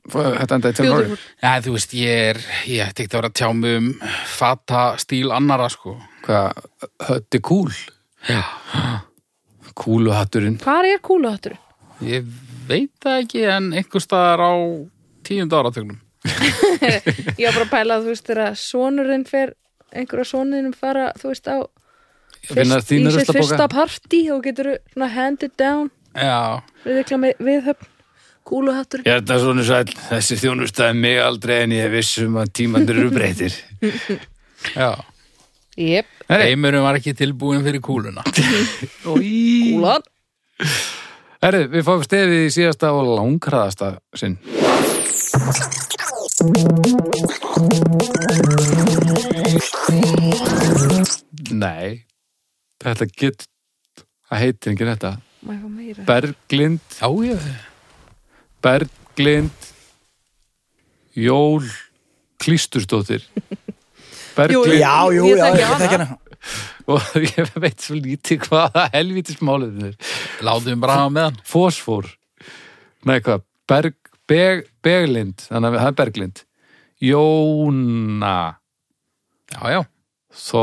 F- Þetta endaði til
Fjórar.
Norri.
Nei, þú veist, ég er, ég ætti ekki að vera að tjá mig um fata stíl annara, sko.
Hvað, hötti kúl?
Já.
Kúluhatturinn.
hvað er kúluhattur?
Ég veit það ekki en einhver staðar á tíundu áratögnum.
ég var bara að pæla að þú veist þegar sonurinn fer einhverja soninum fara þú veist á
Vinnar
fyrst, í
þínu
sitt fyrsta
ruslapoka.
partí og getur svona hand it down
Já.
viðkla með viðhöfn kúluhattur
Hjartasonu sæl, þessi þjónustaði mig aldrei en ég vissum að tímandur eru breytir.
Já.
yep.
Herri,
Heimurum var ekki tilbúin fyrir kúluna.
kúlan
herri, við fáum stefið í síðasta og langræðasta sinn. Nei, þetta get, það heitir ekki þetta.
Má ég fá meira?
Berglind,
Já, ég.
Berglind, Jól, Klístursdóttir. Berglind.
Já, jú,
Ég
já,
þekki
ég
hana.
þekki hana
og ég veit svo lítið hvaða helvítis málið er.
Látum bara hafa með hann.
Fosfór, nei hvað, Berg, Beg, Beglind, þannig að það er Berglind, Jóna,
Já, já.
þó,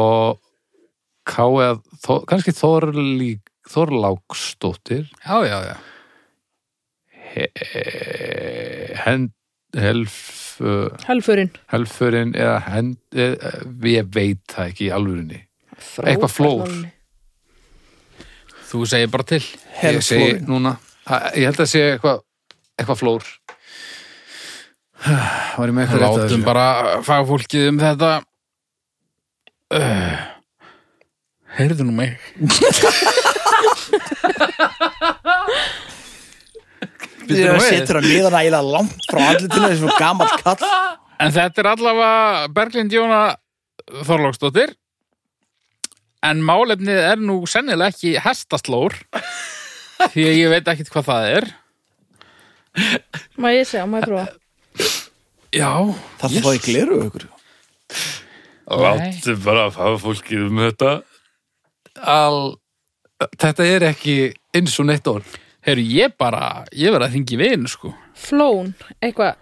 ká eða, þó, kannski Þorlík, Þorláksdóttir,
Já, já, já.
he, he- Eh, hend, helf,
Helfurinn
helfurinn eða hend, e, ég veit það ekki í alvörinni. Eitthvað flór.
Þú segir bara til.
Ég segi
Helflórin.
núna, að- ég held að segja eitthvað, eitthvað flór. Var ég með eitthvað rétt að
Látum
þessu?
bara fagfólkið um þetta. Uh, heyrðu nú mig.
Ég
Bíddu nú við.
setur hann niðan ægilega langt frá andlutinu þessu gamall kall
En þetta er allavega Berglind Jóna Þorlóksdóttir en málefnið er nú sennilega ekki hestaslór því að ég veit ekkit hvað það er
Má ég sjá, má ég prófa
Já
Það yes. þá í gleru ykkur
Láttu
bara að hafa fólkið um þetta Al, Þetta er ekki eins og neitt orð
Heyrðu, ég bara, ég verið að hringi vin, sko.
Flón, eitthvað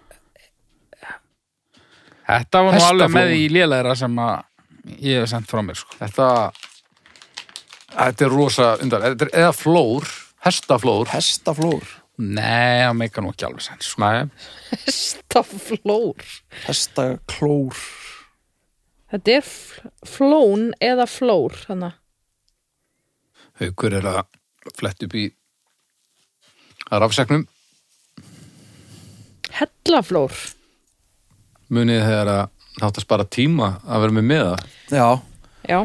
Þetta var nú alveg
Hestaflóð.
með í lélæra sem að ég hef sendt frá mér, sko.
Þetta Þetta er rosa undar Þetta er eða flór, hestaflór
Hestaflór
Nei, það meika nú ekki alveg senn, sko.
Nei,
Hestaflór
Hestaklór
Þetta er fl- flón eða flór þannig.
haukur er að flett upp í að rafsegnum
Hellaflór
munið þegar að þátt að spara tíma að vera með með það
Já,
Já,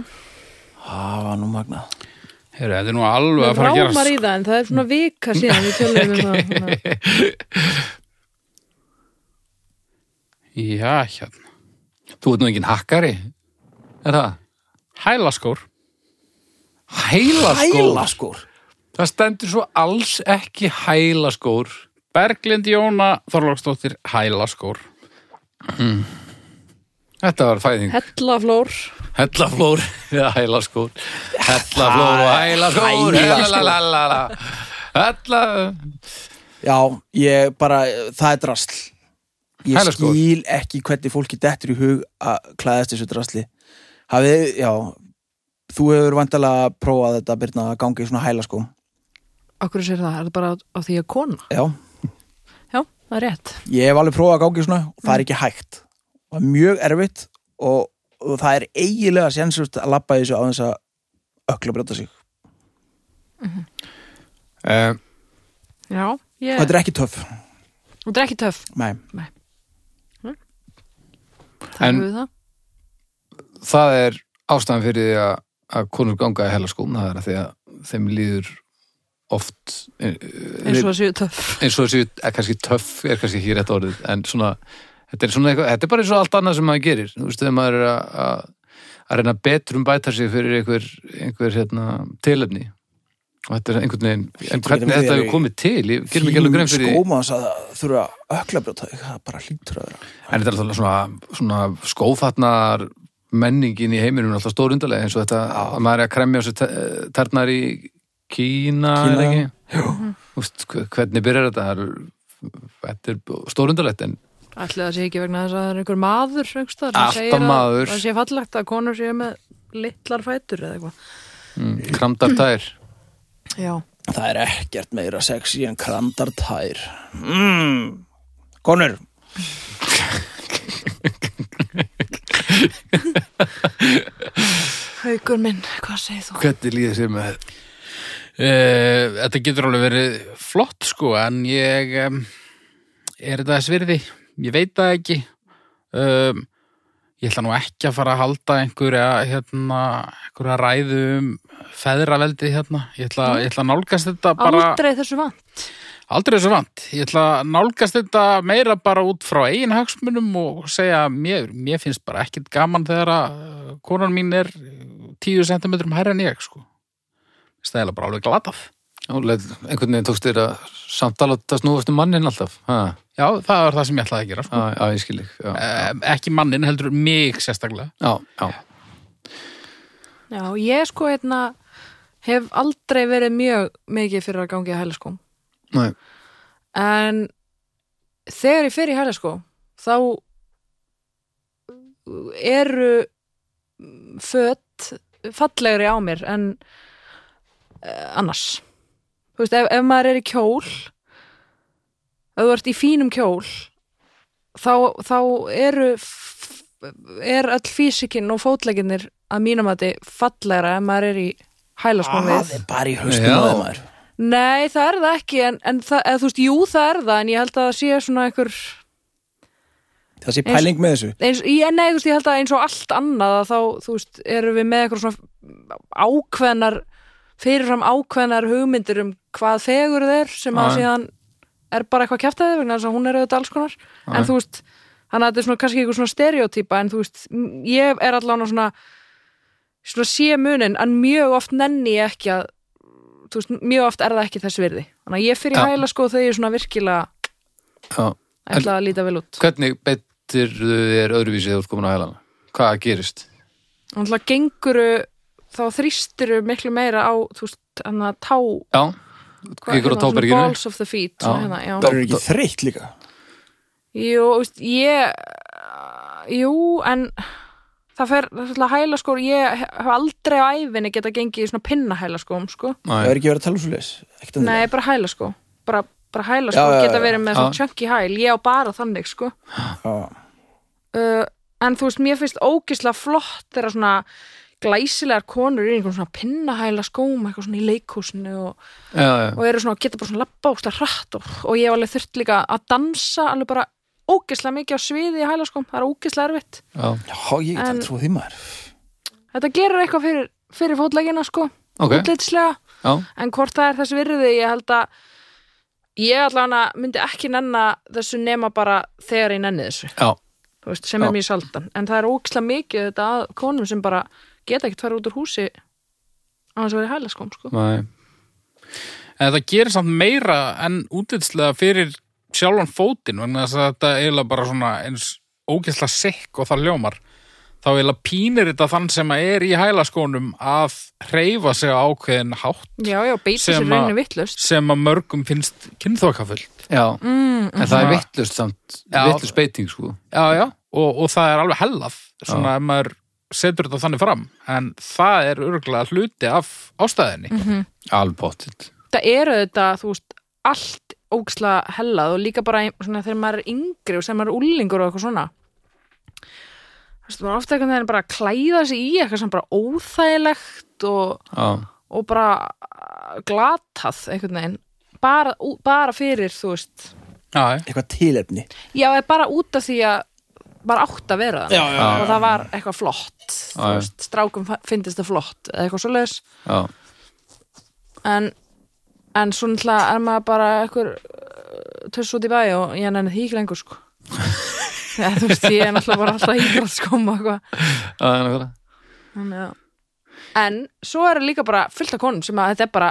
það var nú magnað
Heyrðu, þetta er nú alveg að
það
fara að
rámar
gera,
í það en það er svona vika síðan við tölum um það þannig að-
sko. Já, hérna.
Þú ert nú engin hakkari Er það?
Hælaskór.
Hælaskór
Hælaskór
Það stendur svo alls ekki hælaskór
Berglind Jóna Þorlóksdóttir, hælaskór.
Þetta var fæðing
Hellaflór
Hellaflór eða hælaskór Hellaflór og hælaskór Hellalalala Hella
Já, ég bara, það er drasl Ég
Hælaskór.
skil ekki hvernig fólki dettur í hug að klæðast þessu drasli Hafið, já Þú hefur vandalega prófað þetta Birna að gangi í svona sko. hælaskóm
Akkur sér það, er það bara á því að kona
Já,
Já, það er rétt
ég hef alveg prófað að gangi í svona og
Mm.
það er ekki hægt og það er mjög erfitt og, og það er eiginlega sénsust að labba í þessu á þess að ökla brjóta sig
Eh,
Já, ég,
og þetta er ekki töff
þetta er ekki töff
Nei.
Það
En-
er við það
Það er ástæðan fyrir því að, að konur ganga í hælaskóm Það er að því að þeim líður oft eh,
eins og
eins
það séu töff
eins og þessi eh, kannski töff er kannski ekki rétt orðið en svona, þetta er svona eitthvað þetta er bara eins og allt annað sem maður gerir þú veist, þegar maður er að- að að reyna betur um bæta sig fyrir einhver, einhver hérna, tilefni og þetta er einhvern veginn en
Hlýtur að
hvernig
vera
þetta hefur
í
komið til, ég gerum ekki alveg grein fyrir því.
skóma þess að þurfa að ökla brjóta sig það er bara hlýtur að vera
en þetta er alltaf svona, svona skófatnar menningin í heiminum er alltaf stórundarlega eins og þetta að maður er að kremja á sér te- tærnar í Kína,
Kína,
er það ekki?
Jú.
Mhm.
Úst, hvernig byrjar þetta? Það er- Þetta er stórundarlegt en
Ætli það sé ekki vegna þess að það er einhver maður einhver staðar, sem
Alltaf
segir að-
maður.
Það sé fallegt að konur séu með litlar fætur eða eitthvað
mm, kramdar tær
Já,
það er ekkert meira sexy en krandar tær mm. konur
haugur minn, hvað segir þú?
Hvernig líður sér með þetta?
Uh, þetta getur alveg verið flott, sko, en ég um, er þetta þess virði. Ég veit það ekki. Um, ég ætla nú ekki að fara að halda einhverja, hérna, einhverja ræðu um feðraveldi hérna. Ég ætla, ég ætla að nálgast þetta bara...
Aldrei þessu vant
Aldrei þessu vant. Ég ætla að nálgast þetta meira bara út frá eigin hagsmunum og segja að mér, mér finnst bara ekkit gaman þegar að uh, konan mín er uh, 10 cm hærri en ég, sko. Það er eiginlega bara alveg glatað.
Leit, einhvern veginn tókst þér að samtala þetta snúast um mannin alltaf ha,
Já, það var það sem ég ætlaði að gera, sko.
á, á, ég skil þig já,
Eh, ekki mannin, heldur mig sérstaklega.
já, já.
Já, ég sko hérna hef aldrei verið mjög mikið fyrir að gangi sko. að hælaskóm
Nei,
en þegar ég fer í hælaskóm þá eru fött fallegri á mér en eh, annars þú veist, ef, ef maður er í kjól ef þú ert í fínum kjól þá, þá eru f- er all físikinn og fótleginnir að mínum að þið fallegra ef maður er í hælaskóm við
það er bara í haustum
Já.
á þeim maður
Nei, það er það ekki en, en það, eða, þú veist, jú, það er það en ég held að það sé svona einhver
það sé pæling með þessu
eins, ég, nei, þú veist, ég held að eins og allt annað að þá, þú veist, erum við með eitthvað svona ákveðnar fyrirfram ákveðnar hugmyndir um hvað þegur þeir sem að
Já, já.
síðan er bara eitthvað kjæftæði vegna þess að hún er auðvitað alls konar
já.
en þú veist, þannig að þetta er svona kannski eitthvað svona stereotýpa en þú veist, m- ég er allan á svona svona sé munin en mjög oft nenni ég ekki að þú veist, mjög oft er það ekki þess virði þannig að ég fyrir
Já.
ja. hæla sko þegar ég er svona virkilega
Já.
ætla að líta vel út
Hvernig betur þú þér öðruvísi þegar þú ert komin á hælana? Hvað gerist?
þannig að genguru eh, þá þrýsturu miklu meira á þú veist, hann að tá
Já,
hvað
Gengur á
hérna, svona
táberginu?
balls of the feet svona
Já.
hérna, já.
Það er ekki þreytt líka
Jú, þú veist, ég eh, Jú, en það fer, það er alltaf hæla sko ég hef aldrei á æfinni geta gengið í svona pinna hæla skóm, sko
Það
næ,
er ekki verið að tala um svo leis
Nei, bara hæla sko bara, bara hæla sko,
Já, já, já.
geta verið með svona
Já.
chunky hæl ég á bara þannig, sko uh, en þú veist, mér finnst ógislega flott þegar svona glæsilegar konur eru í einhvern svona pinnahæla skóm eitthvað svona í leikhúsinu og,
já, já,
og eru svona, geta bara svona labba ógislega hratt og, og ég hef alveg þurft líka að dansa alveg bara ógislega mikið á sviði í hæla skóm, það er ógislega erfitt
já,
Já, ég get
En-
að trú því maður
þetta gerir eitthvað fyrir, fyrir fótleggina sko,
ok,
útlitslega
já,
en hvort það er þess virði, ég held að ég allan að myndi ekki nenna þessu nema bara þegar ég nenni þessu
já,
þú veist, sem er
Já.
mjög sjaldan en það er ógislega mikið þetta að konum sem bara geta ekkert fara út úr húsi á þess að vera í hælaskóm sko.
næ,
En það gerir samt meira en útlitslega fyrir sjálfan fótinn vegna þess að þetta er eiginlega bara svona eins ógeðslega sikk og það ljómar þá eiginlega pínir þetta þann sem að er í hælaskónum að hreyfa sig á ákveðin hátt
já, já, beita
Sem
sér
að-
rauninu vittlust
sem að mörgum finnst kynþokafullt
já,
mm,
en það er
Svona-
vittlust samt,
Já.
vittlust beiting, sko,
já, já. Og, og það er alveg hellað svona ef maður setur þetta þannig fram en það er örgulega hluti af ástæðinni
alveg pottitt,
það eru þetta, þú veist, allt ógislega hellað og líka bara ein- svona, þegar maður er yngri og sem maður er úlingur og eitthvað svona þú veist, maður er ofta eitthvað þegar bara að klæða sig í eitthvað sem bara óþægilegt og
já,
og bara uh, glatað einhvern veginn bara, ú- bara fyrir þú veist
já, já.
Eitthvað tilefni
já, eða bara út af því að bara átt að vera það
já,
og það var eitthvað flott þú
Já, já.
veist, strákum fa- fyndist það flott eða eitthvað svoleiðis
já,
en, en svona alltaf er maður bara eitthvað törs út í bæ og ég nenni því ekki lengur sko Já, þú veist, ég er náttúrulega bara alltaf ígrætt skóma eitthvað
já, nákvæmlega.
Þannig að- En svo eru líka bara fullt af konum sem að þetta er bara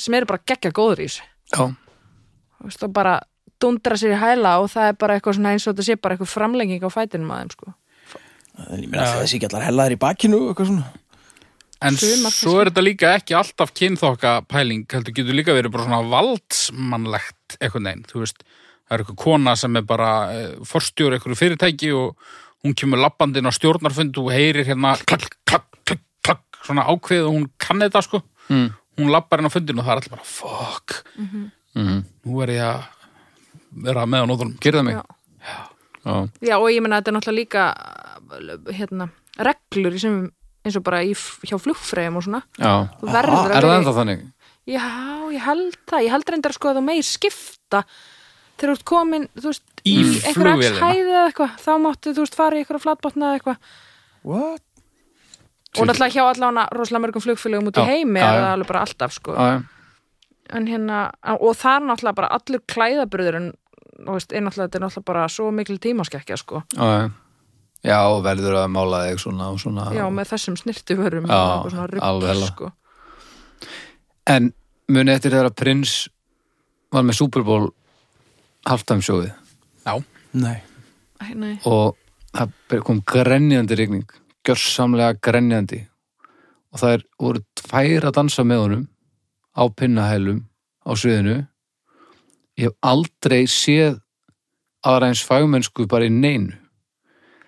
sem eru bara geggja góður í þessu
já,
Þú veist, og bara dundra sér í hæla og það er bara eitthvað svona eins og þetta sé bara eitthvað framlenging á fætinum að þeim sko.
En ég meina þessi ekki allar hellaðir í bakinu og eitthvað svona
En
Sumar
svo er þetta líka ekki alltaf kynþokka pæling, heldur getur líka verið bara svona valdsmannlegt einhvern veginn, þú veist, það er eitthvað kona sem er bara eh, forstjóri einhverju fyrirtæki og hún kemur labbandinn á stjórnarfund og heyrir hérna klakk, klakk, klakk, klakk, svona ákveð og hún kann þetta sko,
Mm.
hún labbar inn á fundin og það er allir bara, fuck,
mhm,
nú er ég að vera með á nóðunum.
gerða mig,
Já.
já,
Já og ég meina þetta er náttúrulega líka uh, hérna, reglur í sem eins og bara í, f- hjá flugfræðum og svona
já,
þú verður
Aha,
að
er það
vera-
ennþá þannig?
Já, ég held það, ég held reyndar sko að þú meir skipta þegar þú ert komin, þú veist
Í
einhver
flugvélina.
hæði eða eitthvað, þá máttu þú veist fara í eitthvað flatbotna eða eitthvað
What?
og náttúrulega hjá allána rosalega mörgum flugfélögum út í
Já,
heimi
já,
er
já.
það alveg bara alltaf sko
Já, já,
en hérna, og það er náttúrulega bara allur klæðaburður en veist, er náttúrulega, þetta er náttúrulega bara svo mikil tímaskekkja sko,
já, já, já, og verður að mála þig svona og svona,
já, með þessum snirtiförum
Já,
og eitthvað svona
alveg
rugl
hella.
sko.
En munið eftir þegar að Prins var með Super Bowl halftime sjóið
Já,
Nei
Æ, nei.
og það kom grenjandi rigning, gjörsamlega grenjandi og það er, voru tvær að dansa með honum á pinnahælum á sviðinu ég hef aldrei séð aðra eins fagmennsku bara í neinu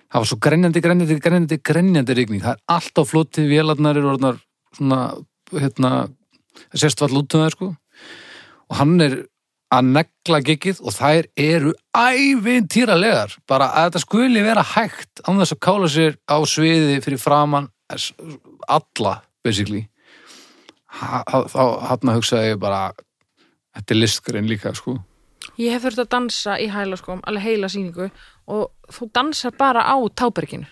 það var svo grenjandi, grenjandi, grenjandi, grenjandi rigning, það er allt á floti vélarnar eru orðnar svona hérna, það sérst vall út um það sko og hann er að negla giggið og þær eru ævintýralegar bara að þetta skuli vera hægt án þess að kála sér á sviði fyrir framan s- alla basically Ha- ha- þá hann að hugsaði ég bara þetta er listgrein líka sko
ég hef þurft að dansa í hæla sko, alveg heila sýningu og þú dansar bara á táberginu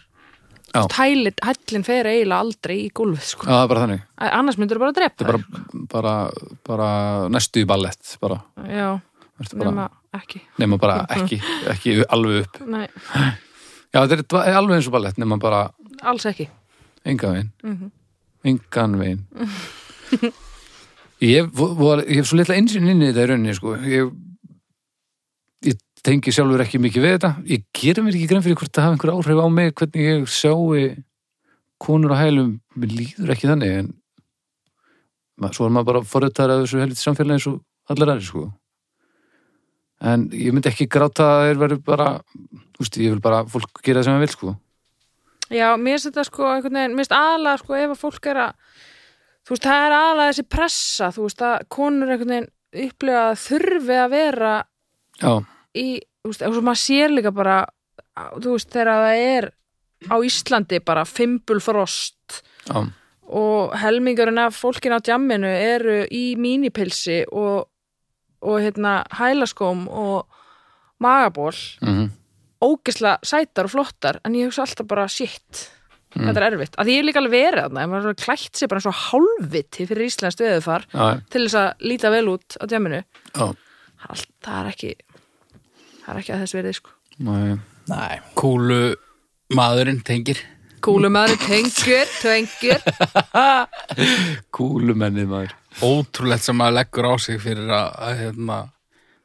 Já.
Hælit, hællin fer eiginlega aldrei í gólfið
Já,
sko.
það er bara þannig,
annars myndur þú bara að
þetta
drepa
er bara, bara, bara næstu í ballett bara,
þær. Já.
Ertu bara-
nema ekki
nema bara ekki, ekki alveg upp
Nei,
já, þetta er dva- alveg eins og ballett nema bara
alls ekki
engan veginn
Mhm.
engan veginn ég, hef- vo- var, ég hef svo litla einsinn inn í þetta í rauninni sko. ég, ég tengi sjálfur ekki mikið við þetta ég gera mér ekki grein fyrir hvort það hafa einhver áhrif á mig hvernig ég sjái konur á hælum, mér líður ekki þannig en ma- svo er maður bara forrættar af þessu helviti samfélagi eins og allar aðri sko en ég myndi ekki gráta að þeir verður bara úst, ég vil bara að fólk gera það sem það vil sko
Já, mér finnst þetta sko einhvern veginn, mér finnst aðalega sko ef að fólk er að þú veist, það er aðalega þessi pressa þú veist, að konur einhvern veginn upplifa að þurfi að vera
já,
í, þú veist, og svo maður sér líka bara á- þú veist, þegar það er á Íslandi bara fimbulfrost
já,
og helmingurinn af fólkin á djamminu eru í mínipilsi og, og hérna hælaskóm og magaból
mhm
ógislega sætar og flottar en ég hugsa alltaf bara shit þetta er erfitt, að ég er líka alveg verið þarna ef maður er alveg klætt sér bara eins og hálfviti fyrir Íslands veðufar
Já,
til þess að líta vel út á djaminu
já,
Allt, það er ekki það er ekki að þess verið sko
næ,
Nei,
Kúlu maðurinn tengir.
kúlumæður, tengur, tengur
kúlumennið maður.
Ótrúlegt sem maður leggur á sig fyrir að, að hérna,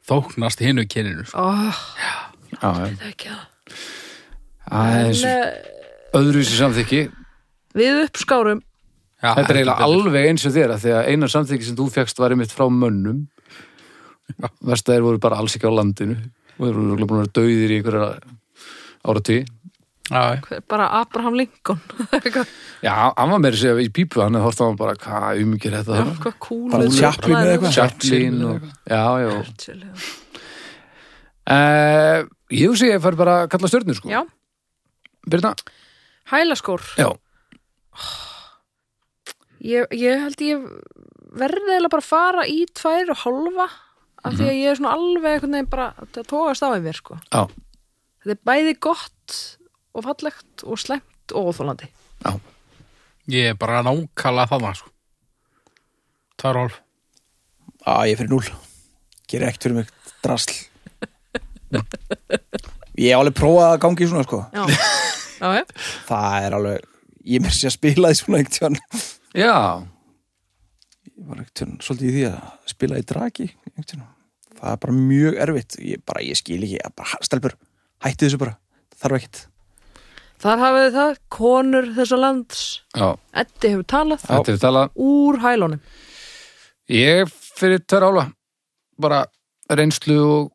þóknast hinu kyninu. sko.
oh,
Já, já.
það er ekki það
Aðeins
En,
öðruvísi samþykki.
eh, við uppskárum
Já,
Þetta er eiginlega
betur.
alveg eins og þér að því að eina samþykki sem þú fegst var einmitt frá mönnum. Vestæðir voru bara alls ekki á landinu og þeir voru örugglega búin að vera dauðir í einhverja áratí.
Já, já.
hver- bara Abraham Lincoln Eitthvað,
Já, hann var meira að segja í pípu, hann horfði á hann bara, hvað umgjör þetta
já,
þarna?
hvað kúlu
Bara Chaplin eða eitthvað?
Chaplin og, já, já.
Churchill, já.
Uh, ég hugsi að ég fær bara að kalla stjörnur, sko.
já,
Birna?
hælaskór
Já.
Ég, ég held ég verði eða bara að fara í tvær og hálfa af því að
Mhm.
ég er svona alveg einhvern veginn bara það tókast á í mér sko.
Já.
Þetta er bæði gott og fallegt og slæmt og óþólandi.
Ég er bara nákvæmlega þarna, sko. Tvær og hálf.
á, ég er fyrir núl Gerir ekkert fyrir mig drasl Ég hef alveg prófað að gangi svona sko
Já, já, já.
Það er alveg, ég mér sé að spila því svona einhvern tjón
Já.
Ég var einhvern tjón svolítið í því að spila í draki einhvern tjón Það er bara mjög erfitt Ég, bara, ég skil ekki, ég bara, stelpur, hætti þessu bara Það þarf ekkert
Þar hafið þið það, konur þessa lands
Já.
Eddi hefur talað
Þetta er talað.
úr hælunum.
Ég fyrir tver ála bara reynslu og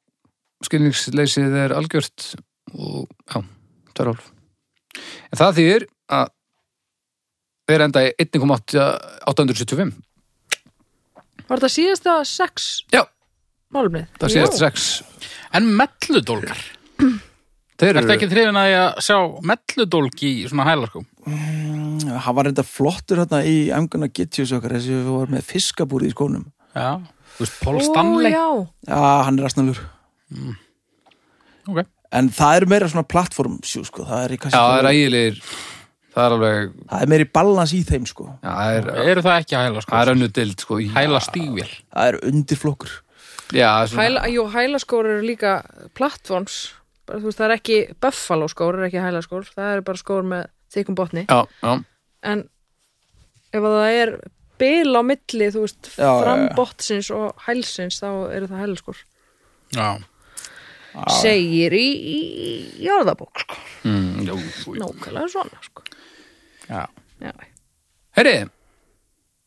skilningsleysið er algjört og já, tver ála en það þýðir að við erum enda í 1,875
Var þetta síðasta sex
Já,
málumnið?
það séðast
Já.
6
En melludólgar.
Þeir
Ertu
eru,
ekki þrifin að ég sjá melludólg í svona sko? hælarskóm?
Hann var reynda flottur hérna í I'm gonna get you okkar þessi við varum með fiskabúri í skónum
Já. Þú veist,
Ó,
Paul Stanley.
já.
Já, hann er rastnalur
Mm.
Ok.
En það er meira svona plattform sjú, sko. það, er í
já,
kannski,
það er ægilegir það er alveg,
það er meiri balans í þeim sko.
já, það er
Eru það ekki
það
hælarskóm?
er önnu dild, sko í-
Hælastígvél.
Það er undirflokkur
Já, svona,
Hæla, jú, hælaskór eru líka platforms. Bara, þú veist, það er ekki buffalo skór, er ekki hælaskór. Það eru bara skór með þykum botni.
já, já,
en ef að það er bil á milli, þú veist,
Já, já, já.
frambottsins og hælsins, þá eru það hælskór
Já.
segir í, í, í orðabók sko.
mm, já.
nákvæmlega svona sko.
Já.
já.
Heyri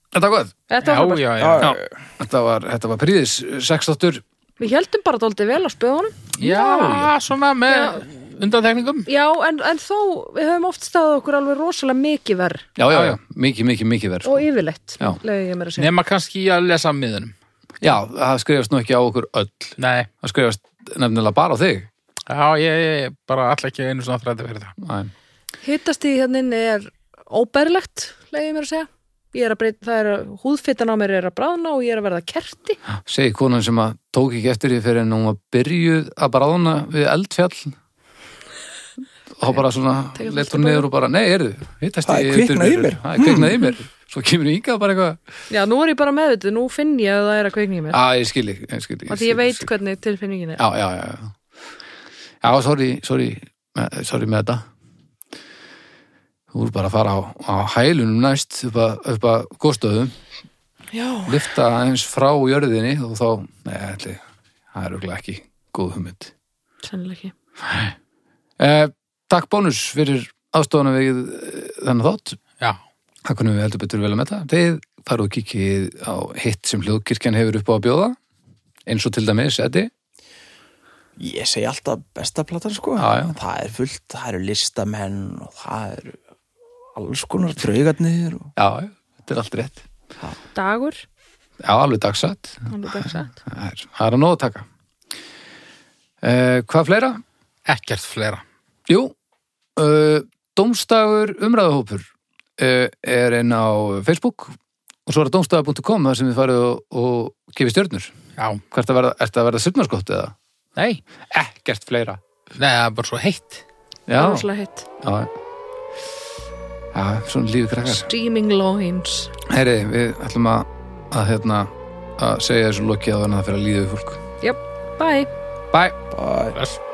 Þetta var gott
þetta
Já,
var bara,
já, já.
Já,
Já, þetta var, þetta var príðis, sextáttur
við heldum bara dálítið vel á spöðunum
Já, svona með undantekningum.
já, en, en þó, við höfum oft staðið okkur alveg rosalega mikið verð
Já, já, já, mikið, mikið, mikið verð sko.
og yfirleitt,
Já.
leiði ég mér að segja
Nefna kannski í að lesa miðunum.
Já, það skrifast nú ekki á okkur öll
Nei,
Það skrifast nefnilega bara á þig
já, ég, ég bara all ekki einu svona þrætti fyrir það.
Æ.
hittast í hérna inni er óbærilegt, leiði ég mér að segja Ég er að breyta, það er að húðfittan á mér er að bráðna og ég er að verða kerti.
Segir konan sem að tók ekki eftir því fyrir en hún var byrjuð að bráðna við eldfjall og bara svona
Tekur
leitt
fullt
hún
að
niður og bara, nei, erðu, hittast
Það er
ég
kviknað í mér.
Það er kviknað í mér svo kemur ég yngað bara eitthvað
Já, nú er ég bara meðvitið, nú finn ég að það er að kveikna í mér.
að ég skil, ég, ég skil, Ah, ég
Af því ég
skil-
veit
skil.
hvernig tilfinningin er.
já, já, já, já já, sorry, sorry eh, sorry með þetta þú voru bara að fara á, á hælunum næst upp að, upp að góðstöðum
Já.
lifta aðeins frá jörðinni og þá, nei, ætli, það er örugglega ekki góð hugmynd
Sennilega ekki.
Eh, takk bónus fyrir aðstofana við eh, þennan þátt.
Já,
Það kunum við heldur betur vel að metta. Þið farið og kikið á hitt sem hljóðkirkjan hefur upp á að bjóða. Eins og til dæmis, Eddi.
Ég segi alltaf besta platan sko
Já, já.
Það er fullt, það eru listamenn og það eru alls konar draugarnir og...
Já, já, þetta er allt rétt.
Dagur,
Já, alveg dagsatt.
hann er dagsett.
Það er, það er að nóg að taka. Eh, hvað fleira?
ekkert fleira.
Jú, uh, Dómstagur umræðahópur uh, er inn á Facebook og svo er dómstagur.com þar sem við farið og, og gefið stjörnur.
Já,
Hvert að verða, ertu að verða syrnarskott eða?
nei,
Ekkert fleira.
nei, það er bara svo heitt.
Það er
Já,
rosalega hitt.
já. Já, svona lífi krakkar.
Streaming loins.
Heyri, við ætlum að, að, hérna, að segja þessu lokið á þannig að það fyrir að líða við fólk.
Bye.
Bye!
Bæ
Bless.